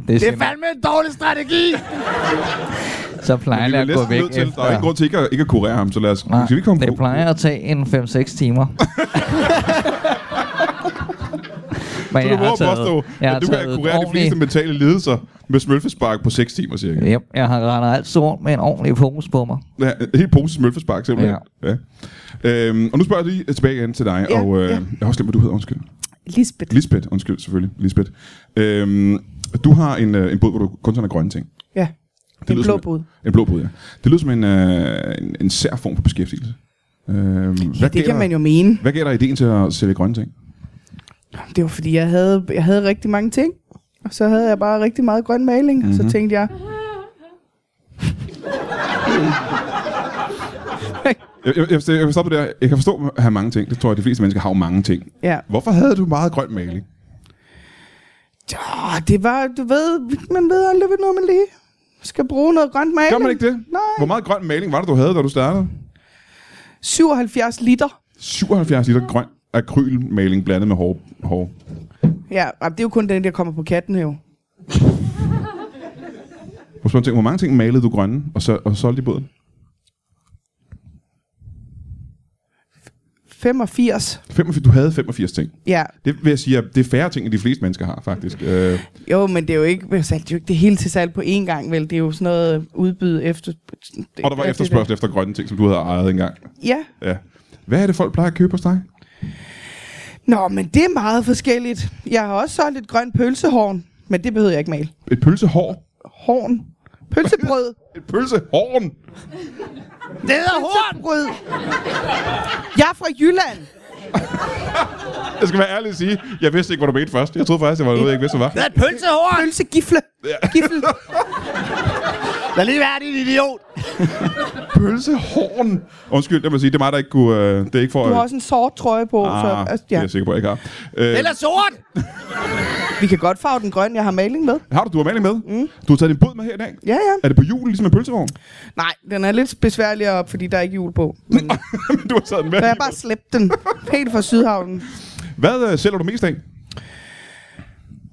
[SPEAKER 4] Det er
[SPEAKER 5] simpelthen-
[SPEAKER 4] fandme en dårlig strategi.
[SPEAKER 5] Så plejer jeg at gå væk
[SPEAKER 2] til, der er ikke
[SPEAKER 5] efter.
[SPEAKER 2] grund til ikke at, ikke at kurere ham, så lad os...
[SPEAKER 5] Nej,
[SPEAKER 2] skal vi komme
[SPEAKER 5] det
[SPEAKER 2] på?
[SPEAKER 5] plejer at tage en 5-6 timer. Men
[SPEAKER 2] Så du prøver at påstå,
[SPEAKER 5] jeg har
[SPEAKER 2] at du kan
[SPEAKER 5] taget
[SPEAKER 2] kurere de
[SPEAKER 5] ordentligt-
[SPEAKER 2] fleste mentale lidelser med smølfespark på 6 timer cirka.
[SPEAKER 5] Yep, jeg har render altid rundt med en ordentlig pose på mig.
[SPEAKER 2] Ja, en hel pose smølfespark simpelthen. Ja. Ja. Øhm, og nu spørger jeg lige tilbage igen til dig,
[SPEAKER 3] Ja,
[SPEAKER 2] og øh,
[SPEAKER 3] ja.
[SPEAKER 2] jeg har også glemt, hvad du hedder, undskyld.
[SPEAKER 3] Lisbeth.
[SPEAKER 2] Lisbeth, undskyld selvfølgelig, Lisbeth. Øhm, du har en, øh, en båd, hvor du kun sender grønne ting.
[SPEAKER 3] Ja. Det
[SPEAKER 2] lyder
[SPEAKER 3] en blå
[SPEAKER 2] som-
[SPEAKER 3] bud.
[SPEAKER 2] En blå båd, ja. Det lyder som en, øh, en, en sær form for beskæftigelse. Øhm, ja, hvad
[SPEAKER 3] Det kan man jo mene.
[SPEAKER 2] Hvad gav dig ideen til at sælge grønne ting?
[SPEAKER 3] Det var fordi, jeg havde, jeg havde rigtig mange ting. Og så havde jeg bare rigtig meget grøn maling. Mm-hmm. Og
[SPEAKER 2] Mhm.
[SPEAKER 3] så tænkte jeg,
[SPEAKER 2] Jeg, jeg, jeg, jeg vil stoppe det der. Jeg kan forstå at have mange ting. Det tror jeg, de fleste mennesker har jo mange ting.
[SPEAKER 3] ja,
[SPEAKER 2] Hvorfor havde du meget grøn maling?
[SPEAKER 3] Åh, det var, du ved, man ved aldrig, hvornår man lige skal bruge noget grønt maling.
[SPEAKER 2] Gør man ikke det?
[SPEAKER 3] Nej.
[SPEAKER 2] Hvor meget grøn maling var det, du havde, da du startede?
[SPEAKER 3] 77 liter.
[SPEAKER 2] 77 liter grøn akrylmaling blandet med hår. hår.
[SPEAKER 3] Ja, og det er jo kun den, der kommer på katten jo.
[SPEAKER 2] Hvor, spørger jeg, hvor mange ting malede du grønne, og, så, og solgte i båden?
[SPEAKER 3] 85.
[SPEAKER 2] 85, du havde 85 ting.
[SPEAKER 3] Ja,
[SPEAKER 2] Det vil jeg sige, at det er færre ting, end de fleste mennesker har, faktisk. Øh,
[SPEAKER 3] jo, men det er jo ikke, man salgte jo ikke det hele til salg på én gang, vel? Det er jo sådan noget udbyd efter...
[SPEAKER 2] og der var
[SPEAKER 3] Ja,
[SPEAKER 2] efterspørgsel efter grønne ting, som du havde ejet engang.
[SPEAKER 3] det- Ja.
[SPEAKER 2] Ja. Hvad er det, folk plejer at købe hos dig?
[SPEAKER 3] Nå, men det er meget forskelligt. Jeg har også solgt et grønt pølsehorn, men det behøver jeg ikke male.
[SPEAKER 2] Et pølsehår?
[SPEAKER 3] Horn. Pølsebrød.
[SPEAKER 2] Et pølsehorn?
[SPEAKER 4] Det hedder horn.
[SPEAKER 3] Pølsebrød. Jeg er fra Jylland.
[SPEAKER 2] Jeg skal være ærlig og sige, jeg vidste ikke, hvad du mente først. Jeg troede faktisk, jeg var noget, jeg ikke vidste, hvad
[SPEAKER 4] Det er et pølsehorn.
[SPEAKER 3] Pølsegifle. Gifle.
[SPEAKER 4] Lad lige være, din idiot.
[SPEAKER 2] Pølsehorn? Undskyld, det må jeg sige, det er mig, der ikke kunne... Øh, det er ikke for...
[SPEAKER 3] Du har også en sort trøje på. så,
[SPEAKER 2] ah,
[SPEAKER 3] altså,
[SPEAKER 2] det er jeg sikker på, jeg ikke har. Øh,
[SPEAKER 4] Eller sort.
[SPEAKER 3] Vi kan godt farve den grønne, jeg har maling med.
[SPEAKER 2] har du, du har maling med? Mm. Du har taget din båd med her i dag?
[SPEAKER 3] Ja, ja.
[SPEAKER 2] Er det på jul, ligesom en pølsevogn?
[SPEAKER 3] Nej, den er lidt besværlig op, fordi der er ikke hjul på. Men
[SPEAKER 2] du har taget den med.
[SPEAKER 3] så jeg bare slæbt den helt fra Sydhavnen.
[SPEAKER 2] Hvad øh, sælger du mest af?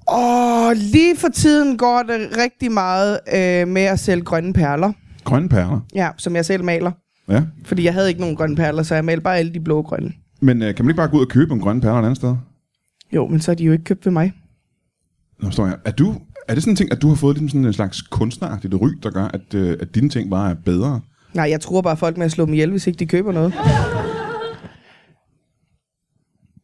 [SPEAKER 3] Og lige for tiden går det rigtig meget øh, med at sælge grønne perler.
[SPEAKER 2] Grønne perler.
[SPEAKER 3] Ja, som jeg selv maler.
[SPEAKER 2] Ja.
[SPEAKER 3] Fordi jeg havde ikke nogen grønne perler, så jeg malte bare alle de blå og grønne.
[SPEAKER 2] Men øh, kan man ikke bare gå ud og købe en grønne perler et andet sted?
[SPEAKER 3] Jo, men så er de jo ikke købt ved mig.
[SPEAKER 2] Nå, står jeg. Er, du, er det sådan en ting, at du har fået ligesom sådan en slags kunstneragtigt ry, der gør, at, øh, at dine ting bare er bedre?
[SPEAKER 3] Nej, jeg tror bare folk med at slå dem ihjel, hvis ikke de køber noget.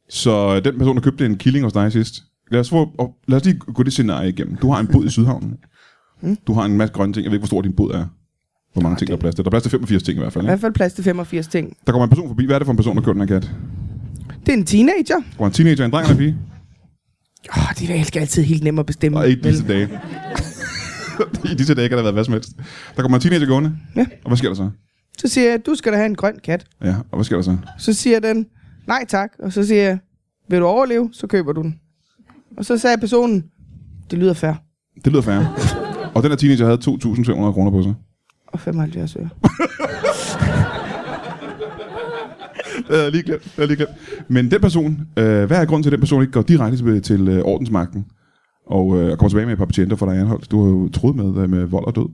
[SPEAKER 2] Så øh, den person, der købte en killing hos dig sidst, lad os, få, og lad os lige gå det scenarie igennem. Du har en bod i Sydhavnen. Du har en masse grønne ting. Jeg ved ikke, hvor stor din bod er. Hvor mange ting, der er plads til. Der er plads til 85 ting i hvert fald.
[SPEAKER 3] I
[SPEAKER 2] Ikke?
[SPEAKER 3] hvert fald plads til 85 ting.
[SPEAKER 2] Der kommer en person forbi. Hvad er det for en person, der kører den her kat? Der
[SPEAKER 3] Det er en teenager.
[SPEAKER 2] kommer en teenager, en dreng eller en pige?
[SPEAKER 3] Åh, oh, det er vel altid helt nemt at bestemme.
[SPEAKER 2] Og ikke
[SPEAKER 3] vel?
[SPEAKER 2] disse dage. I disse dage kan der være hvad som helst. Der kommer en teenager gående.
[SPEAKER 3] Ja.
[SPEAKER 2] Og hvad sker der så?
[SPEAKER 3] Så siger jeg, du skal da have en grøn kat.
[SPEAKER 2] Ja, og hvad sker der så?
[SPEAKER 3] Så siger den, nej tak. Og så siger jeg, vil du overleve, så køber du den. Og så sagde personen, det lyder fair.
[SPEAKER 2] Det lyder færre. og den her teenager havde 2.500 kroner på sig.
[SPEAKER 3] Og 75 øre.
[SPEAKER 2] Det havde jeg lige glemt. Det havde jeg lige glemt. Men den person, øh, hvad er grunden til, at den person ikke går direkte til, til øh, ordensmagten? Og øh, kommer tilbage med et par patienter for dig er anholdt. Du har jo troet med, øh, med vold og død.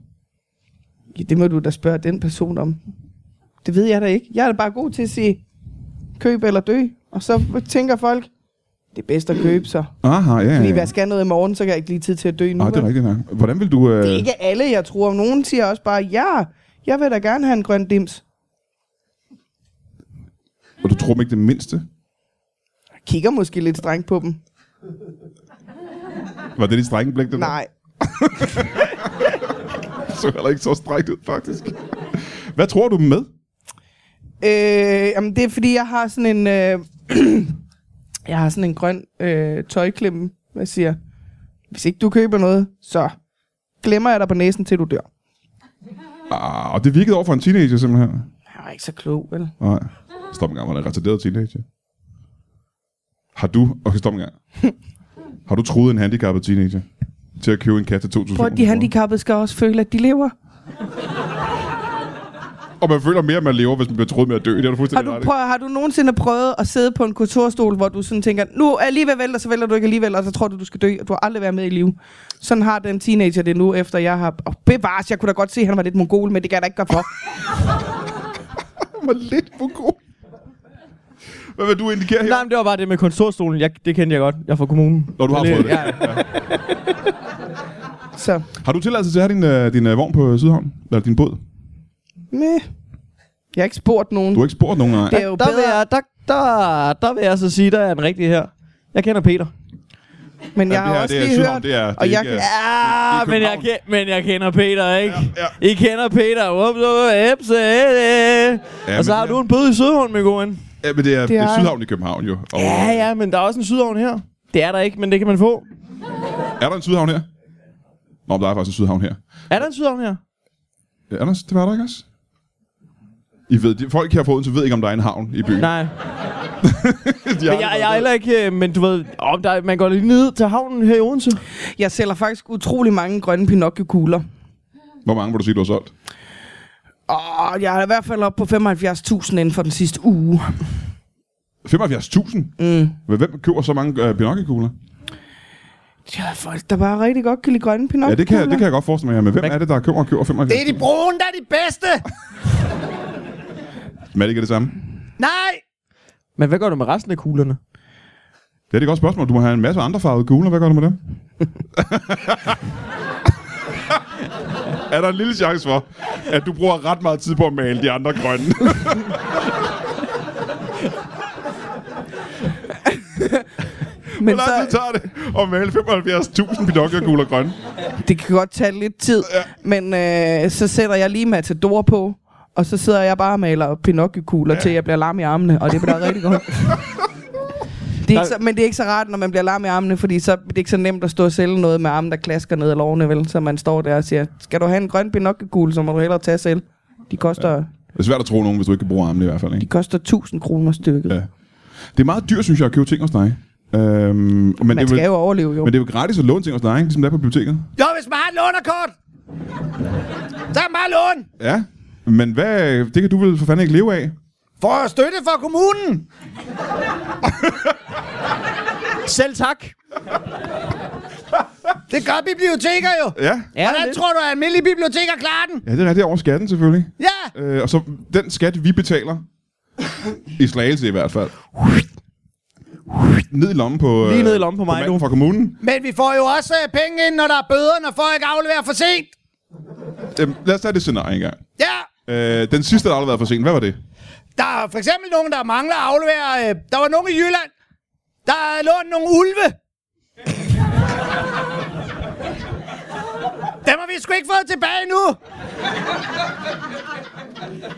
[SPEAKER 3] Ja, det må du da spørge den person om. Det ved jeg da ikke. Jeg er da bare god til at sige, køb eller dø. Og så tænker folk, det er bedst at købe så.
[SPEAKER 2] Aha, ja, ja,
[SPEAKER 3] Fordi
[SPEAKER 2] ja.
[SPEAKER 3] hvad skal jeg noget i morgen, så kan jeg ikke lige tid til at dø nu.
[SPEAKER 2] Ah, det er
[SPEAKER 3] vel?
[SPEAKER 2] rigtigt nok. Hvordan vil du... Øh,
[SPEAKER 3] det er ikke alle, jeg tror. Nogen siger også bare, ja, jeg vil da gerne have en grøn dims.
[SPEAKER 2] Og du tror dem ikke det mindste?
[SPEAKER 3] Jeg kigger måske lidt strengt på dem.
[SPEAKER 2] Var det dit strenge blik, det der?
[SPEAKER 3] Nej,
[SPEAKER 2] Det så heller ikke så strengt ud, faktisk. Hvad tror du dem med?
[SPEAKER 3] Øh, jamen, det er fordi, jeg har sådan en... Øh, jeg har sådan en grøn øh, tøjklemme, hvad jeg siger. Hvis ikke du køber noget, så glemmer jeg dig på næsen, til du dør.
[SPEAKER 2] Ah, og det virkede over for en teenager simpelthen.
[SPEAKER 3] Jeg var ikke så klog, vel?
[SPEAKER 2] Nej. Stop en gang, man er en retarderet teenager. Har du... Okay, stop en gang. Har du troet en handicappet teenager til at købe en kat til 2.000
[SPEAKER 3] Prøv, at de
[SPEAKER 2] kroner?
[SPEAKER 3] handicappede skal også føle, at de lever.
[SPEAKER 2] Og man føler mere, at man lever, hvis man bliver troet med at dø. Det er du
[SPEAKER 3] Har
[SPEAKER 2] fuldstændig
[SPEAKER 3] du,
[SPEAKER 2] ret i.
[SPEAKER 3] prøv, har du nogensinde prøvet at sidde på en kontorstol, hvor du sådan tænker, nu alligevel vælter, så vælter du ikke alligevel, og så tror du, du skal dø, og du har aldrig været med i live. Sådan har den teenager det nu, efter jeg har... Oh, bevares, jeg kunne da godt se, at han var lidt mongol, men det kan jeg da ikke gøre for.
[SPEAKER 2] var lidt for god. Hvad vil du indikere her?
[SPEAKER 6] Nej, men det var bare det med kontorstolen. Jeg, det kendte jeg godt. Jeg er fra kommunen.
[SPEAKER 2] Når du har
[SPEAKER 6] Men, øh,
[SPEAKER 2] fået det.
[SPEAKER 6] Ja,
[SPEAKER 3] Så,
[SPEAKER 2] Har du tilladelse til at have din, øh, din øh, vogn på Sydhavn? Eller din båd?
[SPEAKER 3] meh. Jeg har ikke spurgt nogen.
[SPEAKER 2] Du har ikke spurgt nogen, nej.
[SPEAKER 3] Det er jo
[SPEAKER 6] der, vil
[SPEAKER 3] bedre,
[SPEAKER 6] jeg, der, der, der vil jeg så sige, der er en rigtig her. Jeg kender Peter.
[SPEAKER 3] men jeg
[SPEAKER 2] det
[SPEAKER 3] har
[SPEAKER 2] her,
[SPEAKER 3] også
[SPEAKER 2] det er
[SPEAKER 3] lige
[SPEAKER 2] Sydhavn,
[SPEAKER 3] hørt...
[SPEAKER 2] det er- det er
[SPEAKER 3] og jeg
[SPEAKER 2] ikke,
[SPEAKER 3] kan,
[SPEAKER 2] øh, det
[SPEAKER 6] Ja,
[SPEAKER 2] er
[SPEAKER 6] Ah, men jeg,
[SPEAKER 2] København.
[SPEAKER 6] ke- men jeg kender Peter, ikke?
[SPEAKER 2] Ja,
[SPEAKER 6] I kender Peter. Ups, ups, ups,
[SPEAKER 2] Ja,
[SPEAKER 6] ja, og så
[SPEAKER 2] men
[SPEAKER 6] har
[SPEAKER 2] det
[SPEAKER 6] du
[SPEAKER 2] er-
[SPEAKER 6] en bøde i Sydhavn, min gode ven.
[SPEAKER 2] Ja, men det er, det er
[SPEAKER 3] er-
[SPEAKER 2] Sydhavn i København jo. Og,
[SPEAKER 6] Ja, ja, men der er også en Sydhavn her. Det er der ikke, men det kan man få.
[SPEAKER 2] Er der en Sydhavn her? Nå, men der er faktisk en Sydhavn her.
[SPEAKER 6] Er der en Sydhavn her?
[SPEAKER 2] Ja, er der, det var der ikke også? I ved, de, folk her på Odense ved ikke, om der er en havn i byen.
[SPEAKER 6] Nej.
[SPEAKER 2] de
[SPEAKER 6] Men jeg, jeg er heller ikke... øh, Men du ved, om der, man går lige ned til havnen her i Odense.
[SPEAKER 3] jeg sælger faktisk utrolig mange grønne Pinocchio-kugler.
[SPEAKER 2] Hvor mange vil du sige, du har solgt?
[SPEAKER 3] Og jeg er i hvert fald oppe på 75.000 inden for den sidste uge.
[SPEAKER 2] 75.000? Mm. Hvem køber så mange øh, pinocchio-kugler?
[SPEAKER 3] Ja, folk, der bare rigtig godt kan lide grønne
[SPEAKER 2] Ja,
[SPEAKER 3] Pinocchio-kugler.
[SPEAKER 2] det kan, jeg, det kan jeg godt forestille mig, men hvem er det, der køber og køber 75.000?
[SPEAKER 4] Det er de brune, der er de bedste.
[SPEAKER 2] Men er det ikke det samme?
[SPEAKER 4] Nej,
[SPEAKER 6] Men hvad gør du med resten af kuglerne?
[SPEAKER 2] Det er et godt spørgsmål. Du må have en masse andre farvede kugler. Hvad gør du med dem? er der en lille chance for, at du bruger ret meget tid på at male de andre grønne?
[SPEAKER 3] Men
[SPEAKER 2] Hvor lang tid
[SPEAKER 3] så,
[SPEAKER 2] tager det at male 75.000 Pinocchio-kugler grønne?
[SPEAKER 3] det kan godt tage lidt tid. Ja. Men øh, så sætter jeg lige Matador på. Og så sidder jeg bare og maler Pinocchio-kugler, ja. til jeg bliver larm i armene. Og det bliver rigtig godt. Det er ikke så, men det er ikke så rart, når man bliver larm i armene, fordi så det er ikke så nemt at stå og sælge noget med armen, der klasker ned ad lårene, vel? Så man står der og siger, skal du have en grøn Pinocchio-kugle, så må du hellere tage selv. De koster, ja.
[SPEAKER 2] Det er svært at tro nogen, hvis du ikke kan bruge armene i hvert fald.
[SPEAKER 3] de
[SPEAKER 2] Ikke?
[SPEAKER 3] koster 1000 kroner stykket.
[SPEAKER 2] Ja.
[SPEAKER 3] Ja,
[SPEAKER 2] Det er meget dyrt, synes jeg, at købe ting hos dig. Øhm, men, det
[SPEAKER 3] man
[SPEAKER 2] er
[SPEAKER 3] skal
[SPEAKER 2] vel,
[SPEAKER 3] jo overleve, jo.
[SPEAKER 2] men det er jo gratis at låne ting hos dig, ikke? ligesom det er på biblioteket.
[SPEAKER 4] jo, hvis man har et lånerkort, så kan man bare låne.
[SPEAKER 2] Ja, men hvad, det kan du vel for fanden ikke leve af?
[SPEAKER 4] For støtte fra kommunen.
[SPEAKER 6] Selv tak.
[SPEAKER 4] Det gør biblioteker jo.
[SPEAKER 2] Ja,
[SPEAKER 6] Ja,
[SPEAKER 4] Hvordan
[SPEAKER 6] lidt.
[SPEAKER 4] tror du, at almindelige biblioteker klarer den?
[SPEAKER 2] ja det er rigtigt over skatten selvfølgelig.
[SPEAKER 4] Ja,
[SPEAKER 2] Øh, og så den skat, vi betaler, i Slagelse i hvert fald, ned i lommen på, øh,
[SPEAKER 6] Lige ned i lommen på mig
[SPEAKER 2] manden
[SPEAKER 6] nu.
[SPEAKER 2] fra kommunen.
[SPEAKER 4] men vi får jo også øh, penge ind, når der er bøder, når folk afleverer for sent.
[SPEAKER 2] Jamen, lad os tage det scenarie engang.
[SPEAKER 4] Ja,
[SPEAKER 2] Øh, den sidste, der aldrig har været for sent, hvad var det?
[SPEAKER 4] der er for eksempel nogen, der mangler at aflevere. Øh, der var nogen i Jylland, der lånte nogle ulve. Dem har vi sgu ikke fået tilbage nu.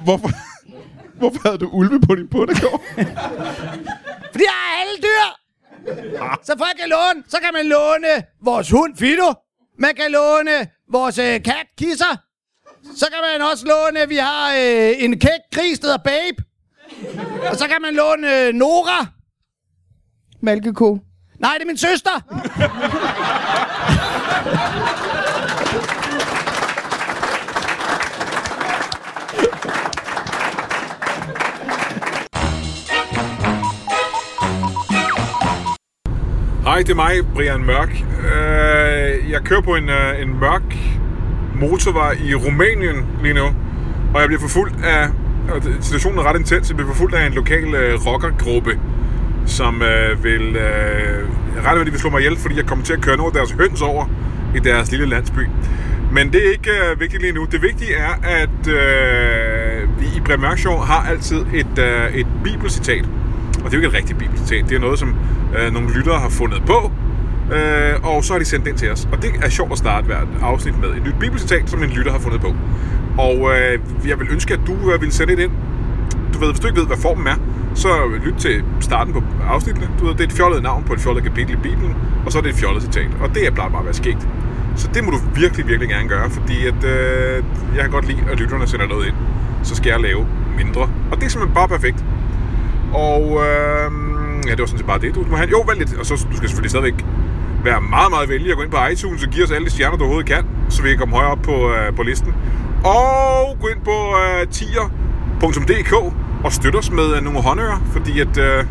[SPEAKER 2] Hvorfor, hvorfor havde du ulve på din bundegård?
[SPEAKER 4] Fordi jeg er alle dyr. Så folk kan låne. Så kan man låne vores hund Fido. Man kan låne vores øh, kat Kisser. Så kan man også låne, vi har øh, en kæk gris, der hedder Babe. Og så kan man låne øh, Nora.
[SPEAKER 3] Malkeko.
[SPEAKER 4] Nej, det er min søster.
[SPEAKER 1] Hej, det er mig, Brian Mørk. Øh, jeg kører på en, øh, en mørk motorvej i Rumænien lige nu, og jeg bliver forfulgt af, og det- situationen er ret intens, jeg bliver forfulgt af en lokal øh, rockergruppe, som øh, vil, øh, jeg regner med, de vil slå mig ihjel, fordi jeg kommer til at køre nogle af deres høns over i deres lille landsby. Men det er ikke øh, vigtigt lige nu. Det vigtige er, at øh, vi i Brian Mørk Show har altid et, øh, et bibelcitat. Og det er jo ikke et rigtigt bibelcitat. Det er noget, som øh, nogle lyttere har fundet på. Øh, og så har de sendt den til os. Og det er sjovt at starte hvert afsnit med et nyt bibelcitat, som en lytter har fundet på. Og øh, jeg vil ønske, at du øh, ville sende et ind. Du du ved, hvis du ikke ved, hvad formen er, så lyt til starten på afsnittene. Du ved, det er et fjollet navn på et fjollet kapitel i Bibelen, og så er det et fjollet citat. Og det er bare bare være skægt. Så det må du virkelig, virkelig gerne gøre, fordi at, øh, jeg kan godt lide, at lytterne sender noget ind. Så skal jeg lave mindre. Og det er simpelthen bare perfekt. Og øh, ja, det var sådan set bare det. Du må have, jo, vær lidt. Og så du skal selvfølgelig stadigvæk være meget, meget venlig at gå ind på iTunes og give os alle de stjerner, du overhovedet kan, så vi kan komme højere op på, øh, på listen. Og gå ind på øh, tier.dk og støt os med øh, nogle håndører, fordi at, øh,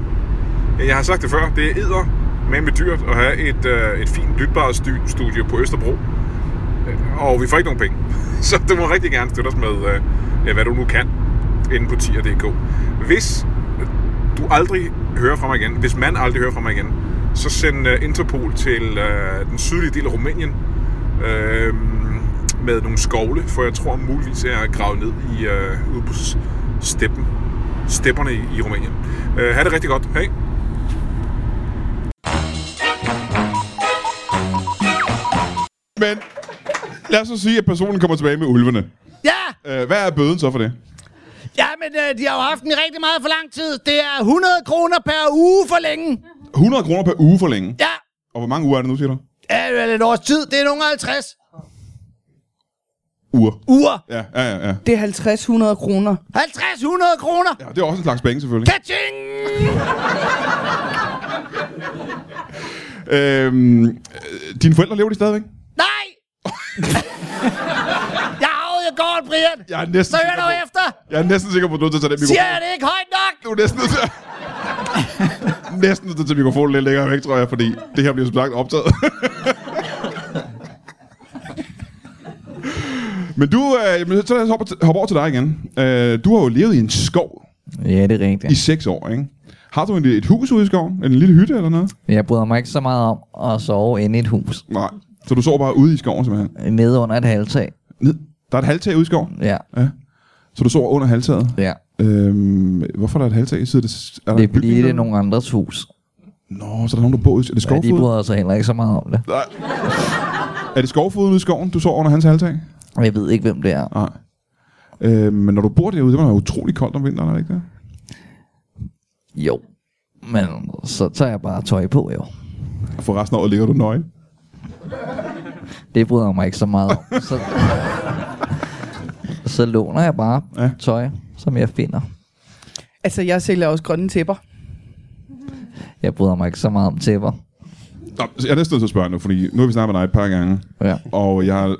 [SPEAKER 1] jeg har sagt det før, det er edder men med dyrt at have et, øh, et fint lytbart stu- studie på Østerbro. Øh, Og vi får ikke nogen penge. Så du må rigtig gerne støtte os med, øh, ja, hvad du nu kan, inde på tier.dk. Hvis du aldrig hører fra mig igen, hvis man aldrig hører fra mig igen, så send uh, Interpol til uh, den sydlige del af Rumænien uh, med nogle skovle, for jeg tror muligvis er jeg gravet ned i, uh, ude på s- steppen, stepperne i, i Rumænien. Uh, ha' det rigtig godt. Hej.
[SPEAKER 2] Men lad os så sige, at personen kommer tilbage med ulvene.
[SPEAKER 4] Ja,
[SPEAKER 2] Øh, hvad er bøden så for det?
[SPEAKER 4] ja men øh, de har jo haft den i rigtig meget for lang tid. Det er 100 kroner per uge for længe.
[SPEAKER 2] 100 kroner per uge for længe.
[SPEAKER 4] Ja,
[SPEAKER 2] Og hvor mange uger er det nu, siger du?
[SPEAKER 4] ja det er et års tid. Det er nogle 50
[SPEAKER 2] Uger.
[SPEAKER 4] uger.
[SPEAKER 2] Ja, ja, ja. ja.
[SPEAKER 3] Det er 50-100 kroner.
[SPEAKER 4] 50-100 kroner.
[SPEAKER 2] ja det er også en slags penge, selvfølgelig.
[SPEAKER 4] Kaching!
[SPEAKER 2] Øhm, øh, dine forældre lever de stadigvæk?
[SPEAKER 4] Nej! jeg har jo gården, Brian.
[SPEAKER 2] Jeg er næsten
[SPEAKER 4] Så hør
[SPEAKER 2] sikker
[SPEAKER 4] nu
[SPEAKER 2] på,
[SPEAKER 4] efter.
[SPEAKER 2] jeg er næsten sikker på, at du er nødt til at tage den
[SPEAKER 4] Siger
[SPEAKER 2] mikrofon.
[SPEAKER 4] jeg det ikke højt nok?
[SPEAKER 2] Du er næsten nødt til at... næsten nødt til at tage mikrofonen lidt længere væk, tror jeg, fordi det her bliver som sagt optaget. Men du, øh, jamen, så lad os hoppe, til- hoppe over til dig igen. Øh, du har jo levet i en skov
[SPEAKER 5] Ja, det er
[SPEAKER 2] i
[SPEAKER 5] rigtigt.
[SPEAKER 2] seks år, ikke? Har du en, et hus ude i skoven? En lille hytte eller noget?
[SPEAKER 5] Jeg bryder mig ikke så meget om at sove inde i et hus.
[SPEAKER 2] Nej. Så du sover bare ude i skoven simpelthen?
[SPEAKER 5] Nede under et halvtag.
[SPEAKER 2] Ned. Der er et halvtag ude i skoven,
[SPEAKER 5] Ja,
[SPEAKER 2] så du sover under halvtaget?
[SPEAKER 5] ja.
[SPEAKER 2] Øhm, hvorfor er der et halvtag? Sidder det, er der
[SPEAKER 5] Det
[SPEAKER 2] en
[SPEAKER 5] er fordi,
[SPEAKER 2] bygning
[SPEAKER 5] det er
[SPEAKER 2] der?
[SPEAKER 5] nogle andres hus.
[SPEAKER 2] Nå, så er der nogen, der bor ude i... Er det
[SPEAKER 5] Ja, de
[SPEAKER 2] skovfod?
[SPEAKER 5] bryder sig heller ikke så meget om det.
[SPEAKER 2] Er det skovfoden ude i skoven, du sover under hans halvtag?
[SPEAKER 5] Og Jeg ved ikke, hvem det er.
[SPEAKER 2] Nej. Øh, men når du bor derude, det må være utrolig koldt om vinteren, er det ikke det?
[SPEAKER 5] Jo. Men så tager jeg bare tøj på, jo.
[SPEAKER 2] Og for resten af året ligger du nøgen.
[SPEAKER 5] Det bryder jeg mig ikke så meget om. Så, så låner jeg bare
[SPEAKER 2] Ja.
[SPEAKER 5] ja. tøj, som jeg finder.
[SPEAKER 3] Altså, jeg sælger også grønne tæpper.
[SPEAKER 5] Jeg bryder mig ikke så meget om tæpper.
[SPEAKER 2] Nå, så jeg er næsten nødt til at spørge nu, fordi nu har vi snakket med dig et par gange,
[SPEAKER 5] Ja.
[SPEAKER 2] og jeg har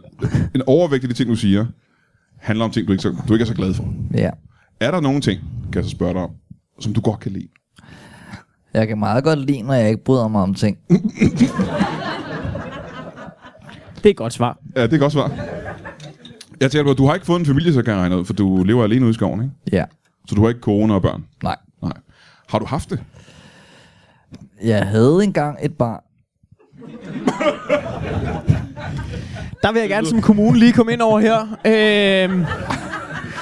[SPEAKER 2] en overvægt af de ting, du siger, handler om ting, du ikke, så, du ikke er så glad for.
[SPEAKER 5] ja.
[SPEAKER 2] Er der nogen ting, kan jeg så spørge dig om, som du godt kan lide?
[SPEAKER 5] Jeg kan meget godt lide, når jeg ikke bryder mig om ting.
[SPEAKER 6] Det er et godt svar.
[SPEAKER 2] Ja, det er et godt svar. Jeg tænker på, at du har ikke fået en familie, så kan jeg regne ud, for du lever alene ude i skoven, ikke?
[SPEAKER 5] Ja.
[SPEAKER 2] Så du har ikke kone og børn?
[SPEAKER 5] Nej.
[SPEAKER 2] Nej. Har du haft det?
[SPEAKER 5] Jeg havde engang et barn.
[SPEAKER 6] Der vil jeg gerne som kommune lige komme ind over her. Øhm,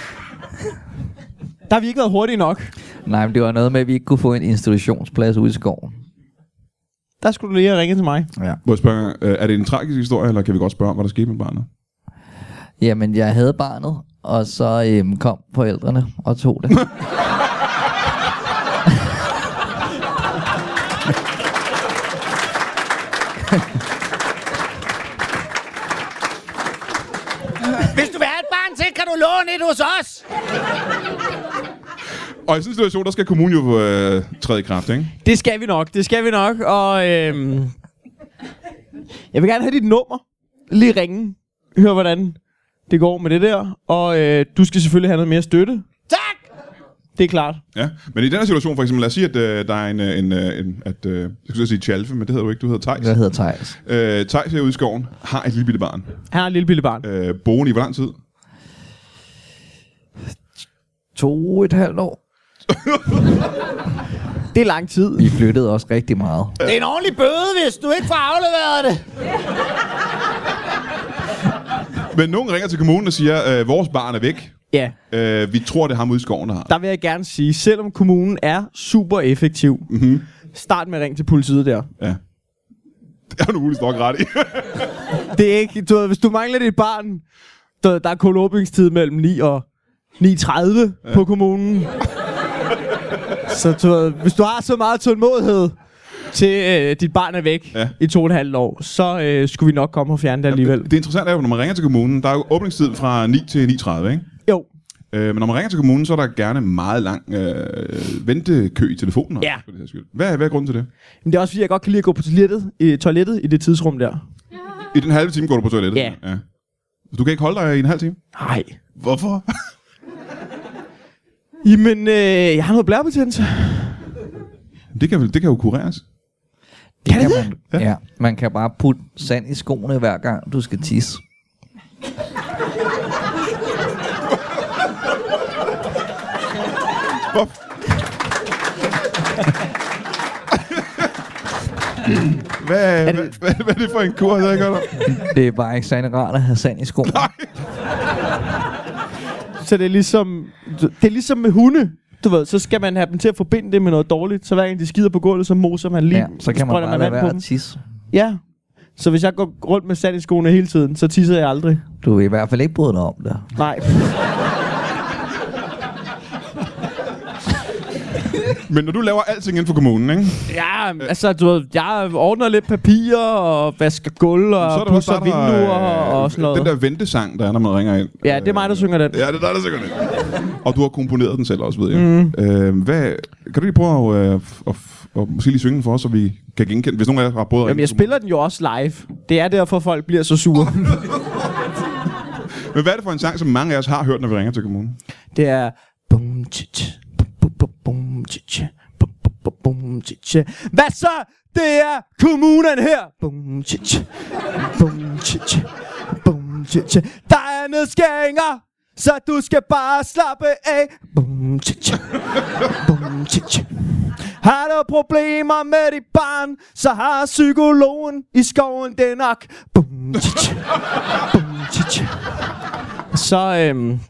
[SPEAKER 6] der har vi ikke været hurtige nok.
[SPEAKER 5] Nej, men det var noget med, at vi ikke kunne få en institutionsplads ude i skoven.
[SPEAKER 6] Der skulle du lige have ringet til mig.
[SPEAKER 2] Må jeg spørge, øh, er det en tragisk historie, eller kan vi godt spørge om, hvad der skete med barnet?
[SPEAKER 5] Jamen, jeg havde barnet, og så øhm, kom forældrene og tog det.
[SPEAKER 4] Hvis du vil have et barn til, kan du låne et hos os.
[SPEAKER 2] Og i sådan en situation, der skal kommunen jo øh, træde i kraft, ikke?
[SPEAKER 6] Det skal vi nok, det skal vi nok. Og øhm, jeg vil gerne have dit nummer. Lige ringe. Hør, hvordan det går med det der. Og øh, du skal selvfølgelig have noget mere støtte.
[SPEAKER 4] Tak!
[SPEAKER 6] Det er klart.
[SPEAKER 2] Ja. Men i den her situation, for eksempel, lad os sige, at øh, der er en, øh, en, øh, en at, øh, jeg skulle til at sige Tjalfe, men det hedder du ikke, du hedder Tejs.
[SPEAKER 5] Jeg hedder Thijs.
[SPEAKER 2] Ja. Øh, Tejs herude i skoven har et lille bitte barn.
[SPEAKER 6] Her er en lille bitte barn.
[SPEAKER 2] Øh, boende i hvor lang tid?
[SPEAKER 5] To og et halvt år.
[SPEAKER 6] Det er lang tid.
[SPEAKER 5] Vi flyttede også rigtig meget.
[SPEAKER 4] Det er en ordentlig bøde, hvis du ikke får afleveret det.
[SPEAKER 2] Men nogen ringer til kommunen og siger, øh, vores barn er væk.
[SPEAKER 6] Ja,
[SPEAKER 2] Øh, vi tror, det er ham ude i skoven, der har.
[SPEAKER 6] der vil jeg gerne sige, selvom kommunen er super effektiv, mm-hmm. start med at ringe til politiet der.
[SPEAKER 2] Ja. Det er du muligvis nok ret i.
[SPEAKER 6] Det er ikke, du ved, hvis du mangler dit barn, der, der er kun åbningstid mellem 9 og 9.30 ja. på kommunen. Så du, ved, hvis du har så meget tålmodighed til øh, dit barn er væk
[SPEAKER 2] Ja.
[SPEAKER 6] ja. i to og et halvt år, så øh, skulle vi nok komme og fjerne det alligevel.
[SPEAKER 2] Det interessante er jo, når man ringer til kommunen, der er jo åbningstid fra 9 til 9.30, ikke?
[SPEAKER 6] Jo,
[SPEAKER 2] Øh, men når man ringer til kommunen, så er der gerne meget lang øh, ventekø i telefonen.
[SPEAKER 6] Ja.
[SPEAKER 2] for det her skyld. Hvad, hvad er grunden til det?
[SPEAKER 6] men det er også fordi, jeg godt kan lide at gå på toilettet, i, toilettet i det tidsrum der.
[SPEAKER 2] I den halve time går du på toilettet?
[SPEAKER 6] Ja.
[SPEAKER 2] ja. Du kan ikke holde dig i en halv time?
[SPEAKER 6] Nej.
[SPEAKER 2] Hvorfor?
[SPEAKER 6] Jamen, øh, jeg har noget blærebetændelse.
[SPEAKER 2] det, kan, vel- det kan jo kureres.
[SPEAKER 5] Det kan man, ja. man kan bare putte sand i skoene hver gang, du skal tisse.
[SPEAKER 2] Hvad,
[SPEAKER 6] Er
[SPEAKER 2] er
[SPEAKER 6] det-
[SPEAKER 2] det, hvad, hvad, hvad er det for en kur, der gør der?
[SPEAKER 5] Det er bare ikke særlig rart at have sand i skoene.
[SPEAKER 6] Så det er ligesom, det er ligesom med hunde. Du ved, så skal man have dem til at forbinde det med noget dårligt. Så hver gang de skider på gulvet, så moser man lige.
[SPEAKER 5] Ja, så kan man
[SPEAKER 6] sprøjter
[SPEAKER 5] bare lade
[SPEAKER 6] vand på
[SPEAKER 5] være
[SPEAKER 6] dem.
[SPEAKER 5] at tisse.
[SPEAKER 6] Ja. Så hvis jeg går rundt med sand i skoene hele tiden, så tisser jeg aldrig.
[SPEAKER 5] Du vil i hvert fald ikke bryde dig om det.
[SPEAKER 6] Nej.
[SPEAKER 2] Men når du laver alting inden for kommunen, ikke?
[SPEAKER 6] Ja, altså, du ved, jeg ordner lidt papirer og vasker gulv
[SPEAKER 2] så er
[SPEAKER 6] og
[SPEAKER 2] der også
[SPEAKER 6] pudser
[SPEAKER 2] der, der,
[SPEAKER 6] vinduer
[SPEAKER 2] øh,
[SPEAKER 6] og sådan
[SPEAKER 2] Den
[SPEAKER 6] noget.
[SPEAKER 2] der ventesang, der er, når man ringer ind. Øh,
[SPEAKER 6] Ja, det er mig, der synger den.
[SPEAKER 2] Ja, det er dig, der synger det. Og du har komponeret den selv også, ved jeg. Mm. Øh, hvad, kan du lige prøve at, øh, f- at, f- at måske lige synge den for os, så vi kan genkende, hvis nogen af jer har prøvet at
[SPEAKER 6] Jamen,
[SPEAKER 2] ringe
[SPEAKER 6] jeg
[SPEAKER 2] til kommunen.
[SPEAKER 6] spiller den jo også live. Det er derfor, folk bliver så sure.
[SPEAKER 2] Men hvad er det for en sang, som mange af os har hørt, når vi ringer til kommunen?
[SPEAKER 6] Det er... Bum, tji, tji, bum, bum, bum, bum, tji, tji, bum, bum, bum, bum, tji, tji. Hvad så? Det er kommunen her. Bum, tji, tji, bum, tji, tji, bum, tji, tji. Der er nedskæringer, så du skal bare slappe af. Bum, tji, tji, bum, tji, tji. Har du problemer med dit barn, så har psykologen i skoven det nok. Bum, tji, tji, bum, tji, tji. Så øhm,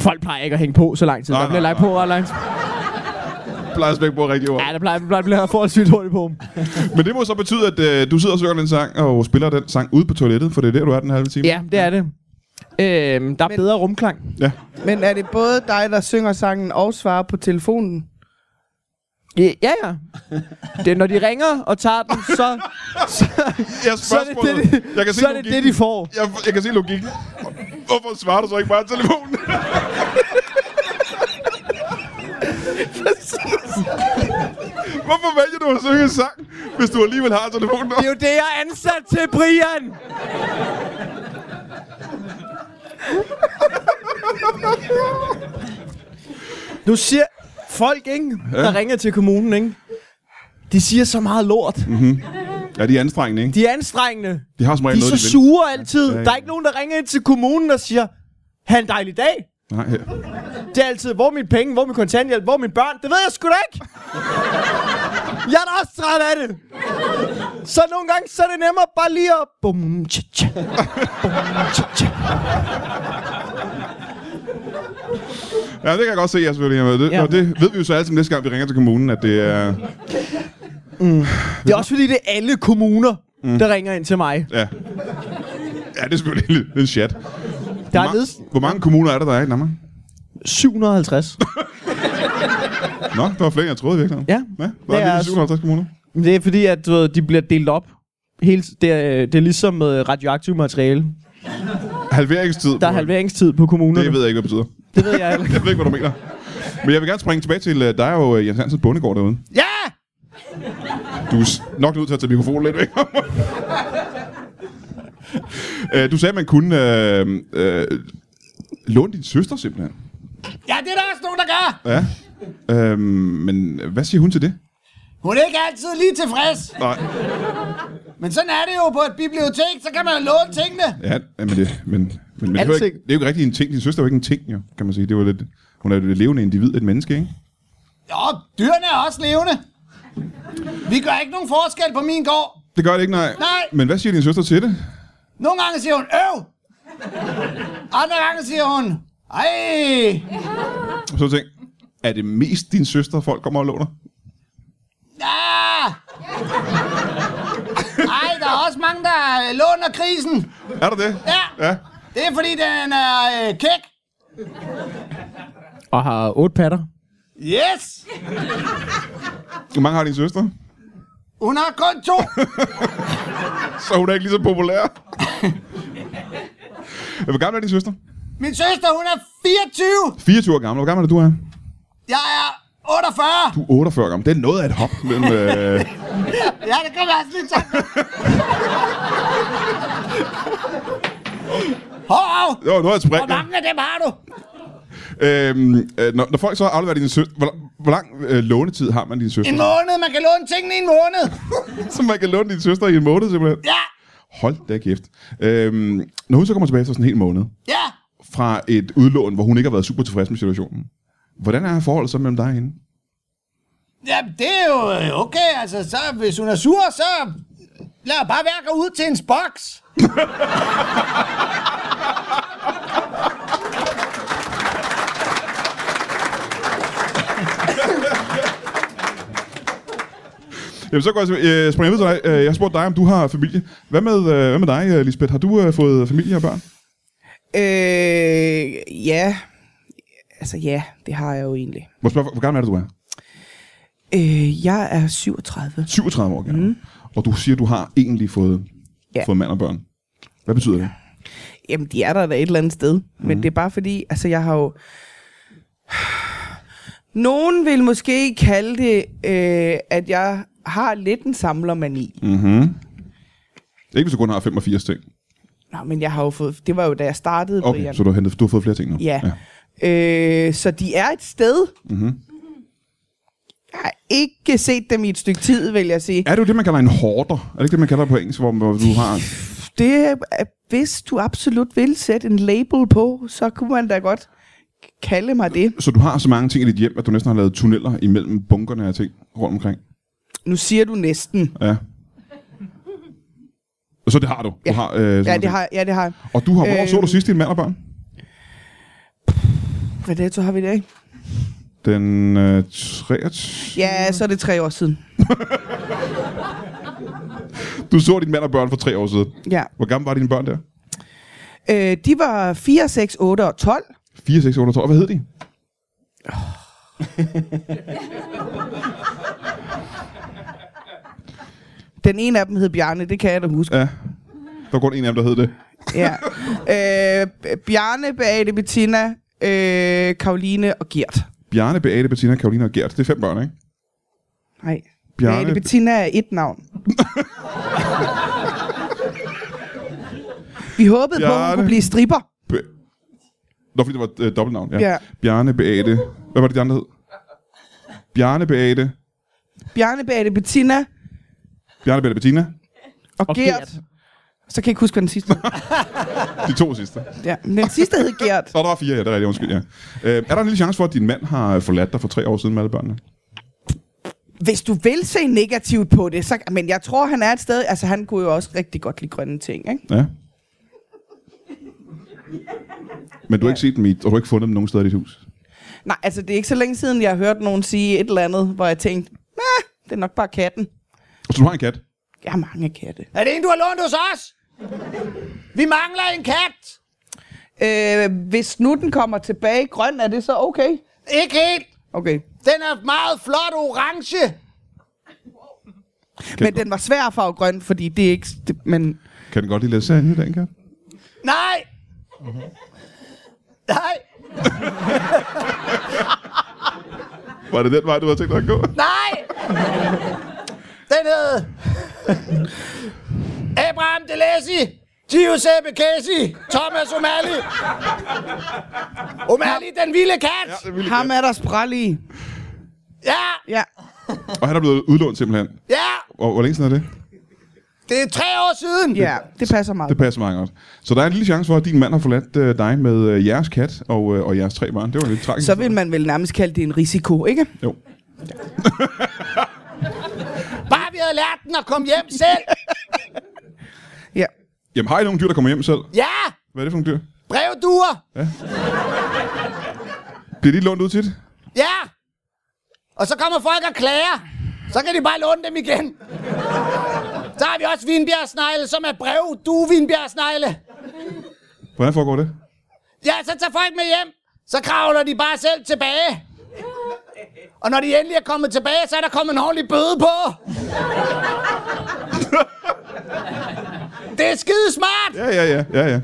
[SPEAKER 6] Folk plejer ikke at hænge på så lang tid.
[SPEAKER 2] Nej,
[SPEAKER 6] der bliver
[SPEAKER 2] nej,
[SPEAKER 6] lagt på ret lang tid.
[SPEAKER 2] Jeg plejer at på rigtig ord.
[SPEAKER 6] Ja, der plejer, der bliver forholdsvis hurtigt på dem.
[SPEAKER 2] Men det må så betyde, at øh, du sidder og synger den sang, og spiller den sang ude på toilettet, for det er der, du er den halve time.
[SPEAKER 6] Ja, det er det. Øhm, der er
[SPEAKER 3] Men-
[SPEAKER 6] bedre rumklang.
[SPEAKER 3] Men er det både dig, der synger sangen og svarer på telefonen?
[SPEAKER 6] Ja, ja. ja. Det, er, når de ringer og tager den, så,
[SPEAKER 2] Jeg,
[SPEAKER 6] så er det det, de,
[SPEAKER 2] jeg kan se
[SPEAKER 6] så er det, det,
[SPEAKER 2] logikken.
[SPEAKER 6] de får.
[SPEAKER 2] Jeg, jeg kan se logikken. Hvorfor svarer du så ikke bare til telefonen? Hvorfor vælger du at synge en sang, hvis du alligevel har telefonen?
[SPEAKER 6] Det er jo det, jeg er ansat til, Brian! nu siger folk, ikke, der ringer til kommunen, ikke? De siger så meget lort.
[SPEAKER 2] Ja, de er anstrengende, ikke?
[SPEAKER 6] De er anstrengende.
[SPEAKER 2] De har som regel
[SPEAKER 6] De er
[SPEAKER 2] noget,
[SPEAKER 6] så
[SPEAKER 2] de vil.
[SPEAKER 6] sure altid.
[SPEAKER 2] ja.
[SPEAKER 6] Der er ikke nogen, der ringer ind til kommunen og siger, have en dejlig dag.
[SPEAKER 2] Nej, ja.
[SPEAKER 6] Det er altid, hvor er mine penge, hvor er min kontanthjælp, hvor er mine børn. Det ved jeg sgu da ikke. Jeg er da også træt af det. Så nogle gange, så er det nemmere bare lige at... Bum, tja, tja. Bum, tja, tja.
[SPEAKER 2] ja, det kan jeg godt se, jeg selvfølgelig. har været Det,
[SPEAKER 6] Ja.
[SPEAKER 2] ja. Og det ved vi jo så altid næste gang, vi ringer til kommunen, at det er...
[SPEAKER 6] Det er også fordi, det er alle kommuner,
[SPEAKER 2] Mm.
[SPEAKER 6] der ringer ind til mig.
[SPEAKER 2] Ja, ja det er selvfølgelig lidt, lidt chat.
[SPEAKER 6] Der
[SPEAKER 2] Hvor
[SPEAKER 6] er
[SPEAKER 2] ma-
[SPEAKER 6] ledes
[SPEAKER 2] Hvor mange kommuner er der, der er i Danmark?
[SPEAKER 6] 750.
[SPEAKER 2] Nå, der var flere, end jeg troede virkelig.
[SPEAKER 6] Ja.
[SPEAKER 2] Ja, der
[SPEAKER 6] Det er
[SPEAKER 2] er lige
[SPEAKER 6] også-
[SPEAKER 2] 750 kommuner.
[SPEAKER 6] Men Det er fordi, at du ved, de bliver delt op. Hele, det, er, det er ligesom med radioaktivt materiale.
[SPEAKER 2] Halveringstid.
[SPEAKER 6] Der er
[SPEAKER 2] på-
[SPEAKER 6] halveringstid på kommunerne.
[SPEAKER 2] Det ved jeg ikke, hvad det betyder.
[SPEAKER 6] det ved jeg heller ikke.
[SPEAKER 2] Jeg ved ikke, hvad du mener. Men jeg vil gerne springe tilbage til øh, dig og øh, Jens Hansen Bondegård derude.
[SPEAKER 4] Ja!
[SPEAKER 2] Du er s- nok nødt til at tage mikrofonen lidt væk. Øh, du sagde, at man kunne øh, øh, låne din søster simpelthen.
[SPEAKER 4] Ja, det er der også nogen, der gør.
[SPEAKER 2] Ja. Øh, men hvad siger hun til det?
[SPEAKER 4] Hun er ikke altid lige tilfreds.
[SPEAKER 2] Nej.
[SPEAKER 4] Men sådan er det jo på et bibliotek, så kan man jo låne tingene.
[SPEAKER 2] Ja, men det, men, men, men det, er jo
[SPEAKER 6] Alting.
[SPEAKER 2] ikke, det er jo ikke rigtig en ting. Din søster er jo ikke en ting, jo, kan man sige. Det var lidt, hun er jo et levende individ, et menneske, ikke?
[SPEAKER 4] Jo, dyrene er også levende. Vi gør ikke nogen forskel på min gård.
[SPEAKER 2] Det gør det ikke, nej.
[SPEAKER 4] Nej.
[SPEAKER 2] Men hvad siger din søster til det?
[SPEAKER 4] Nogle gange siger hun, øv! Andre gange siger hun, ej!
[SPEAKER 2] Og så tænk, er det mest din søster, folk kommer og låner?
[SPEAKER 4] Ah! Ej, der er også mange, der øh, låner krisen.
[SPEAKER 2] Er der det?
[SPEAKER 4] Ja.
[SPEAKER 2] ja.
[SPEAKER 4] Det er fordi, den er øh, kæk.
[SPEAKER 6] Og har otte patter.
[SPEAKER 4] Yes!
[SPEAKER 2] Hvor mange har din søster?
[SPEAKER 4] Hun har kun to.
[SPEAKER 2] Så er hun er ikke lige så populær. Hvor gammel er din søster?
[SPEAKER 4] Min søster, hun er 24.
[SPEAKER 2] 24 år gammel. Hvor gammel er du er?
[SPEAKER 4] Jeg er 48.
[SPEAKER 2] Du er 48 år gammel. Det er noget af et hop. Men, øh,
[SPEAKER 4] Ja, det kan jeg også lidt tænke. Hov, hov.
[SPEAKER 2] det var noget af et spring.
[SPEAKER 4] Hvor mange af dem har du?
[SPEAKER 2] Øhm, øh, når, når, folk så afleverer din søster... Hvor, hvor lang øh, lånetid har man din søster?
[SPEAKER 4] En måned. Man kan låne tingene i en måned.
[SPEAKER 2] Så man kan låne din søster i en måned simpelthen.
[SPEAKER 4] Ja,
[SPEAKER 2] Hold da kæft. Øhm, når hun så kommer tilbage efter sådan en hel måned,
[SPEAKER 4] ja.
[SPEAKER 2] fra et udlån, hvor hun ikke har været super tilfreds med situationen. Hvordan er forholdet så mellem dig og hende?
[SPEAKER 4] Jamen, det er jo øh, okay. Altså, så, hvis hun er sur, så lad bare være at gå ud til hendes boks.
[SPEAKER 2] Jamen, så går jeg til- øh, springer jeg videre til dig. Øh, Jeg har spurgt dig, om du har familie. Hvad med, øh, hvad med dig, øh, Lisbeth? Har du øh, fået familie og børn?
[SPEAKER 3] Øh, ja. Altså ja, det har jeg jo egentlig.
[SPEAKER 2] Må jeg spørge, hvor- hvor gammel er det, du er?
[SPEAKER 3] Øh, jeg er 37.
[SPEAKER 2] 37 år gammel. Mm. Og du siger, du har egentlig fået,
[SPEAKER 3] Ja.
[SPEAKER 2] fået mand og børn. Hvad betyder det?
[SPEAKER 3] Jamen, de er der da et eller andet sted. Mm. Men det er bare fordi, altså jeg har jo... Nogen vil måske kalde det, øh, at jeg har lidt en samlermani. Mm.
[SPEAKER 2] Mm-hmm. Ikke hvis du kun har 85 ting.
[SPEAKER 3] Nå, men jeg har jo fået... Det var jo, da jeg startede,
[SPEAKER 2] Okay,
[SPEAKER 3] Brian.
[SPEAKER 2] så du har, hentet, du har fået flere ting nu.
[SPEAKER 3] Ja. ja. Øh, så de er et sted. Mm-hmm. Jeg har ikke set dem i et stykke tid, vil jeg sige.
[SPEAKER 2] Er det jo det, man kalder en hoarder? Er det ikke det, man kalder det på engelsk, hvor, hvor du har...
[SPEAKER 3] Det er, hvis du absolut vil sætte en label på, så kunne man da godt kalde mig det.
[SPEAKER 2] Så du har så mange ting i dit hjem, at du næsten har lavet tunneller imellem bunkerne af ting rundt omkring?
[SPEAKER 3] Nu siger du næsten.
[SPEAKER 2] Ja. Så det har du?
[SPEAKER 3] Ja.
[SPEAKER 2] du har, øh, sådan
[SPEAKER 3] Ja,
[SPEAKER 2] nogle
[SPEAKER 3] det
[SPEAKER 2] ting.
[SPEAKER 3] har jeg. Ja, det har jeg.
[SPEAKER 2] Og du har, hvornår øh... så du
[SPEAKER 3] Øhm.
[SPEAKER 2] sidst din mand og børn?
[SPEAKER 3] Hvad dato har vi i dag?
[SPEAKER 2] Den øh, 63...
[SPEAKER 3] Ja, så er det tre år siden.
[SPEAKER 2] Du så din mand og børn for tre år siden.
[SPEAKER 3] Ja.
[SPEAKER 2] Hvor gammel var dine børn der?
[SPEAKER 3] Øh, de var 4, 6, 8 og 12.
[SPEAKER 2] 4, 6, 8 år. Hvad hed de?
[SPEAKER 3] Den ene af dem hed Bjarne, det kan jeg da huske.
[SPEAKER 2] Ja. Der var kun en af dem, der hed det.
[SPEAKER 3] Ja. Øh, Bjarne, Beate, Bettina, øh, Karoline og Gert.
[SPEAKER 2] Bjarne, Beate, Bettina, Karoline og Gert. Det er fem børn, ikke?
[SPEAKER 3] Nej.
[SPEAKER 2] Bjarne-
[SPEAKER 3] Bjarne... Beate Bettina er et navn. Vi håbede Bjarne... på, at
[SPEAKER 2] Bjarne.
[SPEAKER 3] hun kunne blive stripper.
[SPEAKER 2] Be- Nå, fordi det var et øh, dobbeltnavn, ja.
[SPEAKER 3] Ja.
[SPEAKER 2] Bjarne, Beate... Hvad var det, de andre hed? Bjarne, Beate...
[SPEAKER 3] Bjarne, Beate, Bettina
[SPEAKER 2] Bjarne, Beate, Bettina.
[SPEAKER 3] og, og Gert. Gert. Så kan jeg ikke huske, hvad den sidste hed.
[SPEAKER 2] De to sidste.
[SPEAKER 3] ja. men Den sidste hed Gert.
[SPEAKER 2] Så der var fire, ja, det er rigtigt, undskyld, ja. Øh, er der en lille chance for, at din mand har forladt dig for tre år siden med alle børnene?
[SPEAKER 3] Hvis du vil se negativt på det, så... Men jeg tror, han er et sted... Altså, han kunne jo også rigtig godt lide grønne ting, ikke?
[SPEAKER 2] Ja. Men du har ikke set dem i, og du har ikke fundet dem nogen steder i dit hus?
[SPEAKER 3] Nej, altså, det er ikke så længe siden, jeg har hørt nogen sige et eller andet, hvor jeg tænkte, nah, det er nok bare katten.
[SPEAKER 2] Så du har en kat?
[SPEAKER 3] Jeg har mange katte.
[SPEAKER 4] Er det en, du har lånt hos os? Vi mangler en kat.
[SPEAKER 3] Øh, hvis nu den kommer tilbage grøn, er det så okay?
[SPEAKER 4] Ikke helt.
[SPEAKER 3] Okay.
[SPEAKER 4] Den er meget flot orange.
[SPEAKER 3] Men den var svær at farve grøn, fordi det er ikke... Det, men
[SPEAKER 2] Kan den godt lide lasagne, den kat?
[SPEAKER 4] Nej. Nej.
[SPEAKER 2] Var det den vej, du havde tænkt dig at gå?
[SPEAKER 4] Nej. Den hed... Abraham Delessi. Giuseppe Casey. Thomas O'Malley. O'Malley, den vilde kat.
[SPEAKER 3] ham er der spræl i.
[SPEAKER 4] Ja,
[SPEAKER 3] Ja.
[SPEAKER 2] Og han er blevet udlånt simpelthen.
[SPEAKER 4] ja.
[SPEAKER 2] Og hvor længe siden er det?
[SPEAKER 4] Det er tre år siden.
[SPEAKER 3] ja, det passer
[SPEAKER 2] Det
[SPEAKER 3] meget.
[SPEAKER 2] passer meget godt. Så der er en lille chance for, at din mand har forladt øh, dig med øh, jeres kat og, øh, og jeres tre børn. Det var lidt tragisk.
[SPEAKER 3] Så vil man vel nærmest kalde det en risiko, ikke?
[SPEAKER 2] Jo.
[SPEAKER 4] Bare vi havde lært den at komme hjem selv.
[SPEAKER 3] Ja.
[SPEAKER 2] Jamen, har I nogle dyr, der kommer hjem selv?
[SPEAKER 4] Ja,
[SPEAKER 2] Hvad er det for nogle dyr?
[SPEAKER 4] brevduer.
[SPEAKER 2] Bliver de lånt ud tit?
[SPEAKER 4] Ja. Og så kommer folk og klager. Så kan de bare låne dem igen. Så har vi også vinbjergsnegle, som er brev. Du vinbjergsnegle.
[SPEAKER 2] Hvordan foregår det?
[SPEAKER 4] Ja, så tager folk med hjem. Så kravler de bare selv tilbage. Og når de endelig er kommet tilbage, så er der kommet en ordentlig bøde på. det er skide smart.
[SPEAKER 2] Ja, ja, ja, ja, ja.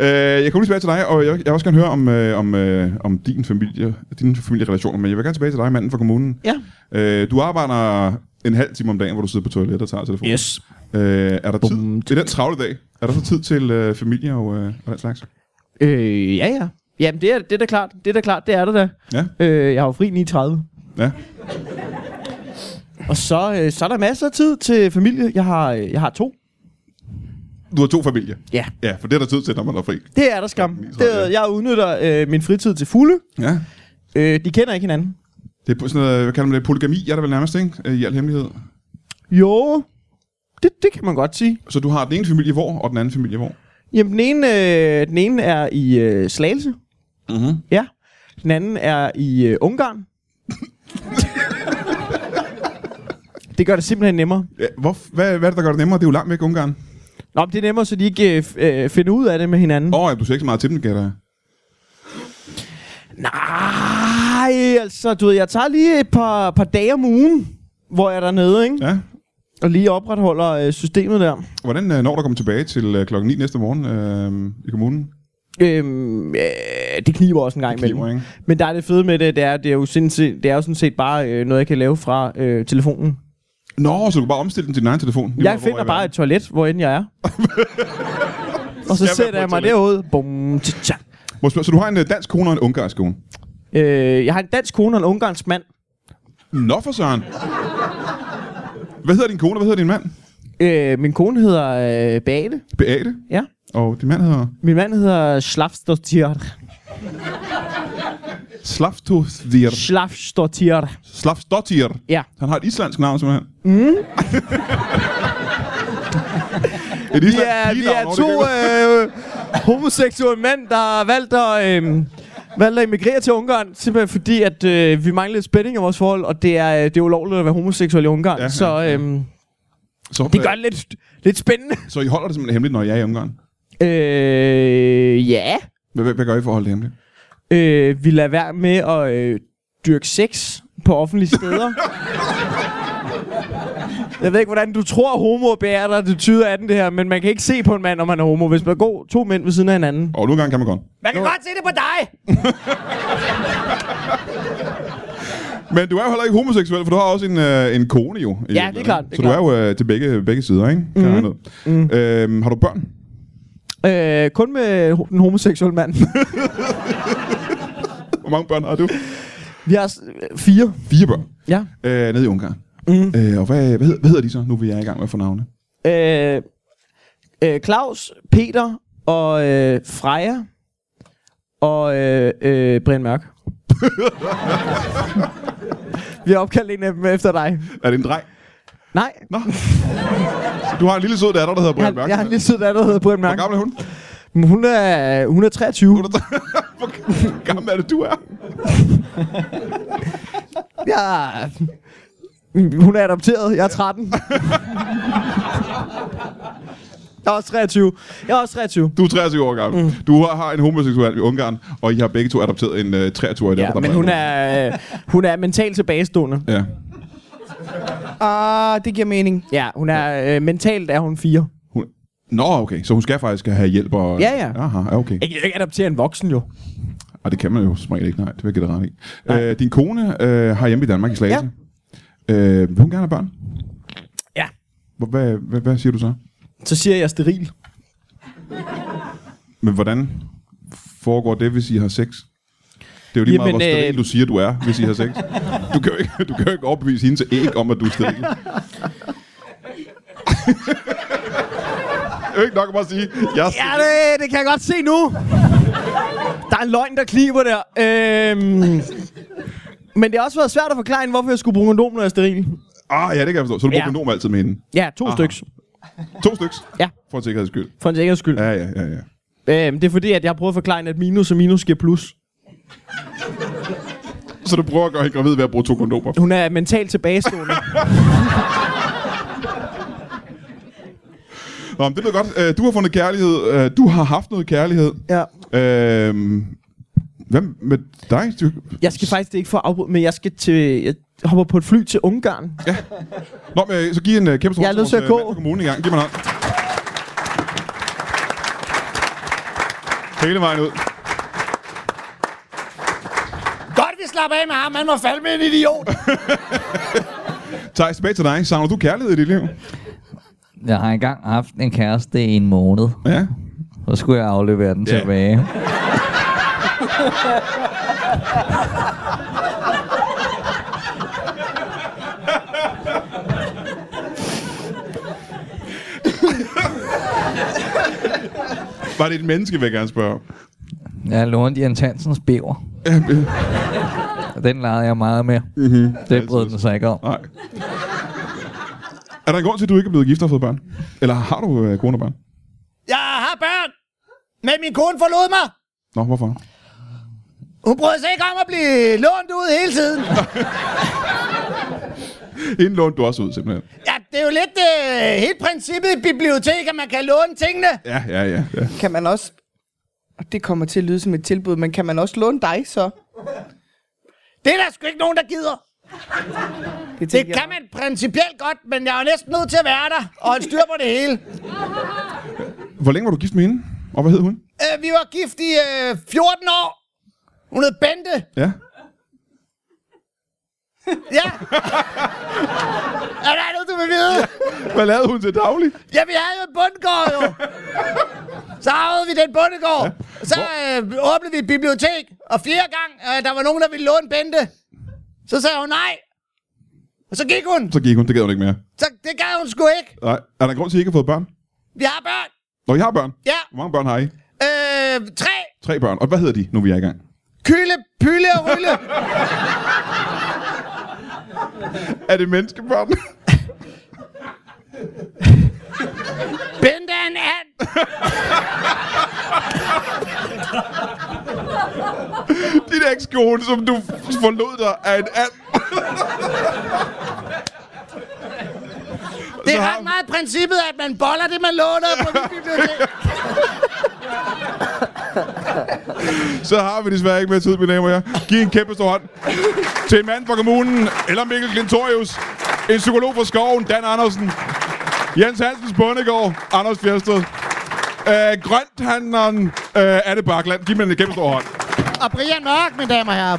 [SPEAKER 2] Øh, jeg kommer lige tilbage til dig, og jeg, jeg vil også gerne høre om, øh, om, øh, om din, familie, dine familierelationer, men jeg vil gerne tilbage til dig, manden fra kommunen.
[SPEAKER 6] Ja.
[SPEAKER 2] Øh, du arbejder en halv time om dagen, hvor du sidder på toilettet og tager telefonen.
[SPEAKER 6] Yes.
[SPEAKER 2] Øh, er der tid? Det er den travle dag. Er der så tid til øh, familie og, øh, og den slags?
[SPEAKER 6] Øh, ja, ja. Jamen, det er, det er da klart. Det er da klart, det er det da.
[SPEAKER 2] Ja.
[SPEAKER 6] Øh, jeg har jo fri 39.
[SPEAKER 2] Ja.
[SPEAKER 6] Og så, øh, så er der masser af tid til familie. Jeg har, øh, jeg har to.
[SPEAKER 2] Du har to familier.
[SPEAKER 6] Ja.
[SPEAKER 2] Ja, for det er der tid til, når man er fri.
[SPEAKER 6] Det er der skam. Det,
[SPEAKER 2] ja.
[SPEAKER 6] er- jeg udnytter øh, min fritid til fulde.
[SPEAKER 2] Ja.
[SPEAKER 6] Øh, de kender ikke hinanden.
[SPEAKER 2] Det er på- sådan noget, hvad kalder man det, polygami er der vel nærmest, ikke? Øh, I al hemmelighed.
[SPEAKER 6] Jo, det, det kan man godt sige.
[SPEAKER 2] Så du har den ene familie hvor, og den anden familie hvor?
[SPEAKER 6] Jamen, den ene, øh, den ene er i øh, Slagelse.
[SPEAKER 2] Mhm.
[SPEAKER 6] Ja. Den anden er i øh, Ungarn. det gør det simpelthen nemmere.
[SPEAKER 2] Ja, hvor, hvad, hvad er det, der gør det nemmere? Det er jo langt væk, Ungarn.
[SPEAKER 6] Nå, men det er nemmere, så de ikke øh, f- øh, finder ud af det med hinanden.
[SPEAKER 2] Åh, oh, ja, du ser ikke så meget til dem, gætter jeg.
[SPEAKER 6] Nej, altså, du ved, jeg tager lige et par, par dage om ugen, hvor jeg er dernede, ikke?
[SPEAKER 2] Ja.
[SPEAKER 6] Og lige opretholder øh, systemet der.
[SPEAKER 2] Hvordan øh, når du kommer tilbage til øh, klokken 9 næste morgen øh, i kommunen?
[SPEAKER 6] Øhm, øh, det kniber også en gang
[SPEAKER 2] Kniver,
[SPEAKER 6] imellem.
[SPEAKER 2] ikke?
[SPEAKER 6] Men der er det fede med det, det er, det er jo, sindssygt, det er jo sådan set bare øh, noget, jeg kan lave fra øh, telefonen.
[SPEAKER 2] Nå, så du kan bare omstille den til din egen telefon? Lige
[SPEAKER 6] Jeg
[SPEAKER 2] hvor- hvor
[SPEAKER 6] finder
[SPEAKER 2] i verden.
[SPEAKER 6] bare et toilet, hvor end jeg er. og så
[SPEAKER 2] være på
[SPEAKER 6] sætter
[SPEAKER 2] et
[SPEAKER 6] jeg mig
[SPEAKER 2] toilet.
[SPEAKER 6] derud. Bum, tja, tja.
[SPEAKER 2] Må jeg spørge, Så du har en øh, dansk kone og en ungarsk kone?
[SPEAKER 6] Øh, jeg har en dansk kone og en ungarsk mand.
[SPEAKER 2] Nå for søren. Hvad hedder din kone, og hvad hedder din mand?
[SPEAKER 6] Øh, min kone hedder øh, Beate.
[SPEAKER 2] Beate.
[SPEAKER 6] Ja.
[SPEAKER 2] Og din mand hedder
[SPEAKER 6] Min mand hedder Slafstotir.
[SPEAKER 2] Slavstóttir.
[SPEAKER 6] Slafstotir.
[SPEAKER 2] Slavstóttir.
[SPEAKER 6] Ja.
[SPEAKER 2] Han har et islandsk navn, simpelthen. Mm. et
[SPEAKER 6] Vi
[SPEAKER 2] islandsk
[SPEAKER 6] er, vi
[SPEAKER 2] pigenavn,
[SPEAKER 6] er
[SPEAKER 2] og det
[SPEAKER 6] to
[SPEAKER 2] kan-
[SPEAKER 6] øh, homoseksuelle mænd, der har valgt at, øh, valgt at emigrere til Ungarn, simpelthen fordi, at øh, vi mangler lidt spænding i vores forhold, og det er, øh, det er ulovligt at være homoseksuel i Ungarn,
[SPEAKER 2] Ja,
[SPEAKER 6] ja, så
[SPEAKER 2] ja, ja.
[SPEAKER 6] øh,
[SPEAKER 2] Så, øh,
[SPEAKER 6] det gør det lidt, lidt spændende.
[SPEAKER 2] så I holder det simpelthen hemmeligt, når jeg er i Ungarn?
[SPEAKER 6] Øh, ja,
[SPEAKER 2] Hvad, hvad, hvad gør I for at holde det hemmeligt?
[SPEAKER 6] øh, vi lader være med at øh, dyrke sex på offentlige steder. Jeg ved ikke, hvordan du tror, homo bærer dig det tyder af den det her, men man kan ikke se på en mand, om han er homo, hvis man går to mænd ved siden af hinanden.
[SPEAKER 2] Og nu engang kan man godt.
[SPEAKER 4] Man kan godt se det på dig.
[SPEAKER 2] Men du er jo heller ikke homoseksuel, for du har også en, øh, en kone jo. i
[SPEAKER 6] det er
[SPEAKER 2] virkeligheden,
[SPEAKER 6] klart, Mhm.
[SPEAKER 2] ikke?
[SPEAKER 6] det er
[SPEAKER 2] så du er jo øh, til begge, begge sider, ikke? Mm-hmm. Mm. Øhm, har du børn?
[SPEAKER 6] Øh, kun med ho- den homoseksuelle mand.
[SPEAKER 2] Hvor mange børn har du?
[SPEAKER 6] vi har s- øh, fire.
[SPEAKER 2] Fire børn.
[SPEAKER 6] Ja.
[SPEAKER 2] Øh, nede i Ungarn.
[SPEAKER 6] Mhm.
[SPEAKER 2] Mm. Øh, og hvad, hvad, hed- hvad hedder de så, nu vi er i gang med at få navne?
[SPEAKER 6] Øh, øh, Claus, Peter og øh, Freja og øh, øh, Brian Mørk. vi har opkaldt en af dem efter dig.
[SPEAKER 2] Er det en dreng?
[SPEAKER 6] Nej,
[SPEAKER 2] Nå. du har en lille sød datter, der hedder
[SPEAKER 6] jeg,
[SPEAKER 2] Brian
[SPEAKER 6] har-
[SPEAKER 2] Mørk.
[SPEAKER 6] jeg har lige siddet der, der hedder Brian
[SPEAKER 2] Hvor
[SPEAKER 6] Mørk.
[SPEAKER 2] gammel er hun?
[SPEAKER 6] Hun er, hun er 23.
[SPEAKER 2] Hvor gammel er det, du er?
[SPEAKER 6] Ja. Hun er adopteret. Jeg er 13. Jeg er også 23. Jeg er også 23.
[SPEAKER 2] Du er 23 år gammel. Mm. Du har, har en homoseksuel i Ungarn, og I har begge to adopteret en øh, 23-årig datter.
[SPEAKER 6] Ja,
[SPEAKER 2] der
[SPEAKER 6] men hun er, øh, hun er mentalt tilbagestående.
[SPEAKER 2] Ja.
[SPEAKER 3] Ah, det giver mening.
[SPEAKER 6] Ja, hun er, øh, mentalt er hun fire.
[SPEAKER 2] Hun... Nå, okay. Så hun skal faktisk have hjælp og...
[SPEAKER 6] Ja, ja.
[SPEAKER 2] Aha, ja, okay.
[SPEAKER 6] Jeg kan jo ikke adoptere en voksen, jo.
[SPEAKER 2] Og det kan man jo som regel ikke. Nej, det vil jeg give dig ret i. Øh, din kone øh, har hjemme i Danmark i Slagelse. Ja. Øh, vil hun gerne have børn?
[SPEAKER 6] Ja.
[SPEAKER 2] Hvor- Hvad, hvad, hvad siger du så?
[SPEAKER 6] Så siger jeg, jeg er steril.
[SPEAKER 2] Men hvordan foregår det, hvis I har sex? Det er jo lige Jamen, meget,
[SPEAKER 6] Jamen,
[SPEAKER 2] hvor steril
[SPEAKER 6] øh,
[SPEAKER 2] du siger, du er, hvis I har sex. Du kan jo ikke, du kan jo ikke overbevise hende til æg om, at du er steril. det er jo ikke nok at bare sige, jeg er
[SPEAKER 6] Ja,
[SPEAKER 2] steril.
[SPEAKER 6] det, det kan jeg godt se nu. Der er en løgn, der kliber der. Øhm, men det har også været svært at forklare hende, hvorfor jeg skulle bruge kondom, når jeg er steril.
[SPEAKER 2] Ah, ja, det kan jeg forstå. Så du bruger
[SPEAKER 6] Ja.
[SPEAKER 2] kondom altid med hende.
[SPEAKER 6] Ja, to Aha. styks.
[SPEAKER 2] To styks.
[SPEAKER 6] Ja.
[SPEAKER 2] For en sikkerheds skyld.
[SPEAKER 6] For en sikkerheds skyld. Ja.
[SPEAKER 2] Ja, ja, ja, ja.
[SPEAKER 6] Øhm, det er fordi, at jeg har prøvet at forklare hende, at minus og minus giver plus.
[SPEAKER 2] Så du prøver at gøre hende gravid ved at bruge to kondomer.
[SPEAKER 6] Hun er mentalt tilbagestående.
[SPEAKER 2] Nå, men det lyder godt. Øh, Du har fundet kærlighed. Øh, Du har haft noget kærlighed.
[SPEAKER 6] ja.
[SPEAKER 2] Øhm, Hvad med dig? Du...
[SPEAKER 6] Jeg skal faktisk det er ikke for at afbryde, men jeg skal til... Jeg hopper på et fly til Ungarn.
[SPEAKER 2] Nå, men øh, så giv en øh, kæmpe stor
[SPEAKER 6] Jeg er
[SPEAKER 2] hånd
[SPEAKER 6] nødt til
[SPEAKER 2] vores, øh,
[SPEAKER 6] at gå.
[SPEAKER 2] mand fra kommunen i gang. Giv mig en hånd. Hele vejen ud.
[SPEAKER 4] Godt, vi slapper af med ham. Han var fandme en idiot.
[SPEAKER 2] Thijs, tilbage til dig. Savner du kærlighed i dit liv?
[SPEAKER 5] Jeg har engang haft en kæreste i en måned.
[SPEAKER 2] Ja.
[SPEAKER 5] Så skulle jeg aflevere den
[SPEAKER 2] Ja.
[SPEAKER 5] tilbage.
[SPEAKER 2] Var det et menneske, vil jeg gerne spørge om?
[SPEAKER 5] Jeg lånte Jens Hansens bæver. Og den legede jeg meget med. Det brød den sig ikke om.
[SPEAKER 2] Nej. Er der en grund til, at du ikke er blevet gift og har fået børn? Eller har du øh, kone og børn?
[SPEAKER 4] Jeg har børn. Men min kone forlod mig.
[SPEAKER 2] Nå, hvorfor?
[SPEAKER 4] Hun brød sig ikke om at blive lånt ud hele tiden.
[SPEAKER 2] Inden lånte du også ud, simpelthen.
[SPEAKER 4] Ja, det er jo lidt øh, helt princippet i biblioteket, at man kan låne tingene.
[SPEAKER 2] Ja, ja, ja. ja.
[SPEAKER 3] Kan man også... og Det kommer til at lyde som et tilbud, men kan man også låne dig så?
[SPEAKER 4] Det er der sgu ikke nogen, der gider. Det
[SPEAKER 3] tænker jeg
[SPEAKER 4] kan man principielt godt, men jeg er jo næsten nødt til at være der og holde styr på det hele.
[SPEAKER 2] Hvor længe var du gift med hende? Og hvad hed hun?
[SPEAKER 4] Øh, vi var gift i øh, 14 år. Hun hed Bente.
[SPEAKER 2] Ja.
[SPEAKER 4] Ja. er der andet, du vil vide?
[SPEAKER 2] Hvad lavede hun til daglig?
[SPEAKER 4] Ja, vi havde jo en bundgård, jo. Så arvede vi den bundegård. Ja. Så øh, åbnede vi et bibliotek, og flere gange, øh, der var nogen, der ville låne Bente. Så sagde hun nej. Og så gik hun.
[SPEAKER 2] Så gik hun, det gad hun ikke mere.
[SPEAKER 4] Så det gad hun sgu ikke.
[SPEAKER 2] Nej. Er der en grund til, at I ikke har fået børn?
[SPEAKER 4] Vi har børn.
[SPEAKER 2] Når I har børn?
[SPEAKER 4] Ja.
[SPEAKER 2] Hvor mange børn har I?
[SPEAKER 4] Øh, tre.
[SPEAKER 2] Tre børn. Og hvad hedder de, nu vi er i gang?
[SPEAKER 4] Kyle, Pyle og Rylle.
[SPEAKER 2] Er det menneskebørn?
[SPEAKER 4] Bente er en and.
[SPEAKER 2] Din ekskone, som du forlod dig, er en and.
[SPEAKER 4] Det
[SPEAKER 2] Så
[SPEAKER 4] er
[SPEAKER 2] har-
[SPEAKER 4] ret meget princippet, at man boller det, man låner på mit bibliotek.
[SPEAKER 2] Så har vi desværre ikke mere tid, mine damer og herrer. Giv en kæmpe stor hånd til en mand fra kommunen, eller Mikkel Glentorius, en psykolog fra skoven, Dan Andersen, Jens Hansens Bundegård, Anders Fjersted, øh, grønthandleren øh, Anne Bakland. Giv mig en kæmpe stor hånd.
[SPEAKER 4] Og Brian Mørk, mine damer og herrer.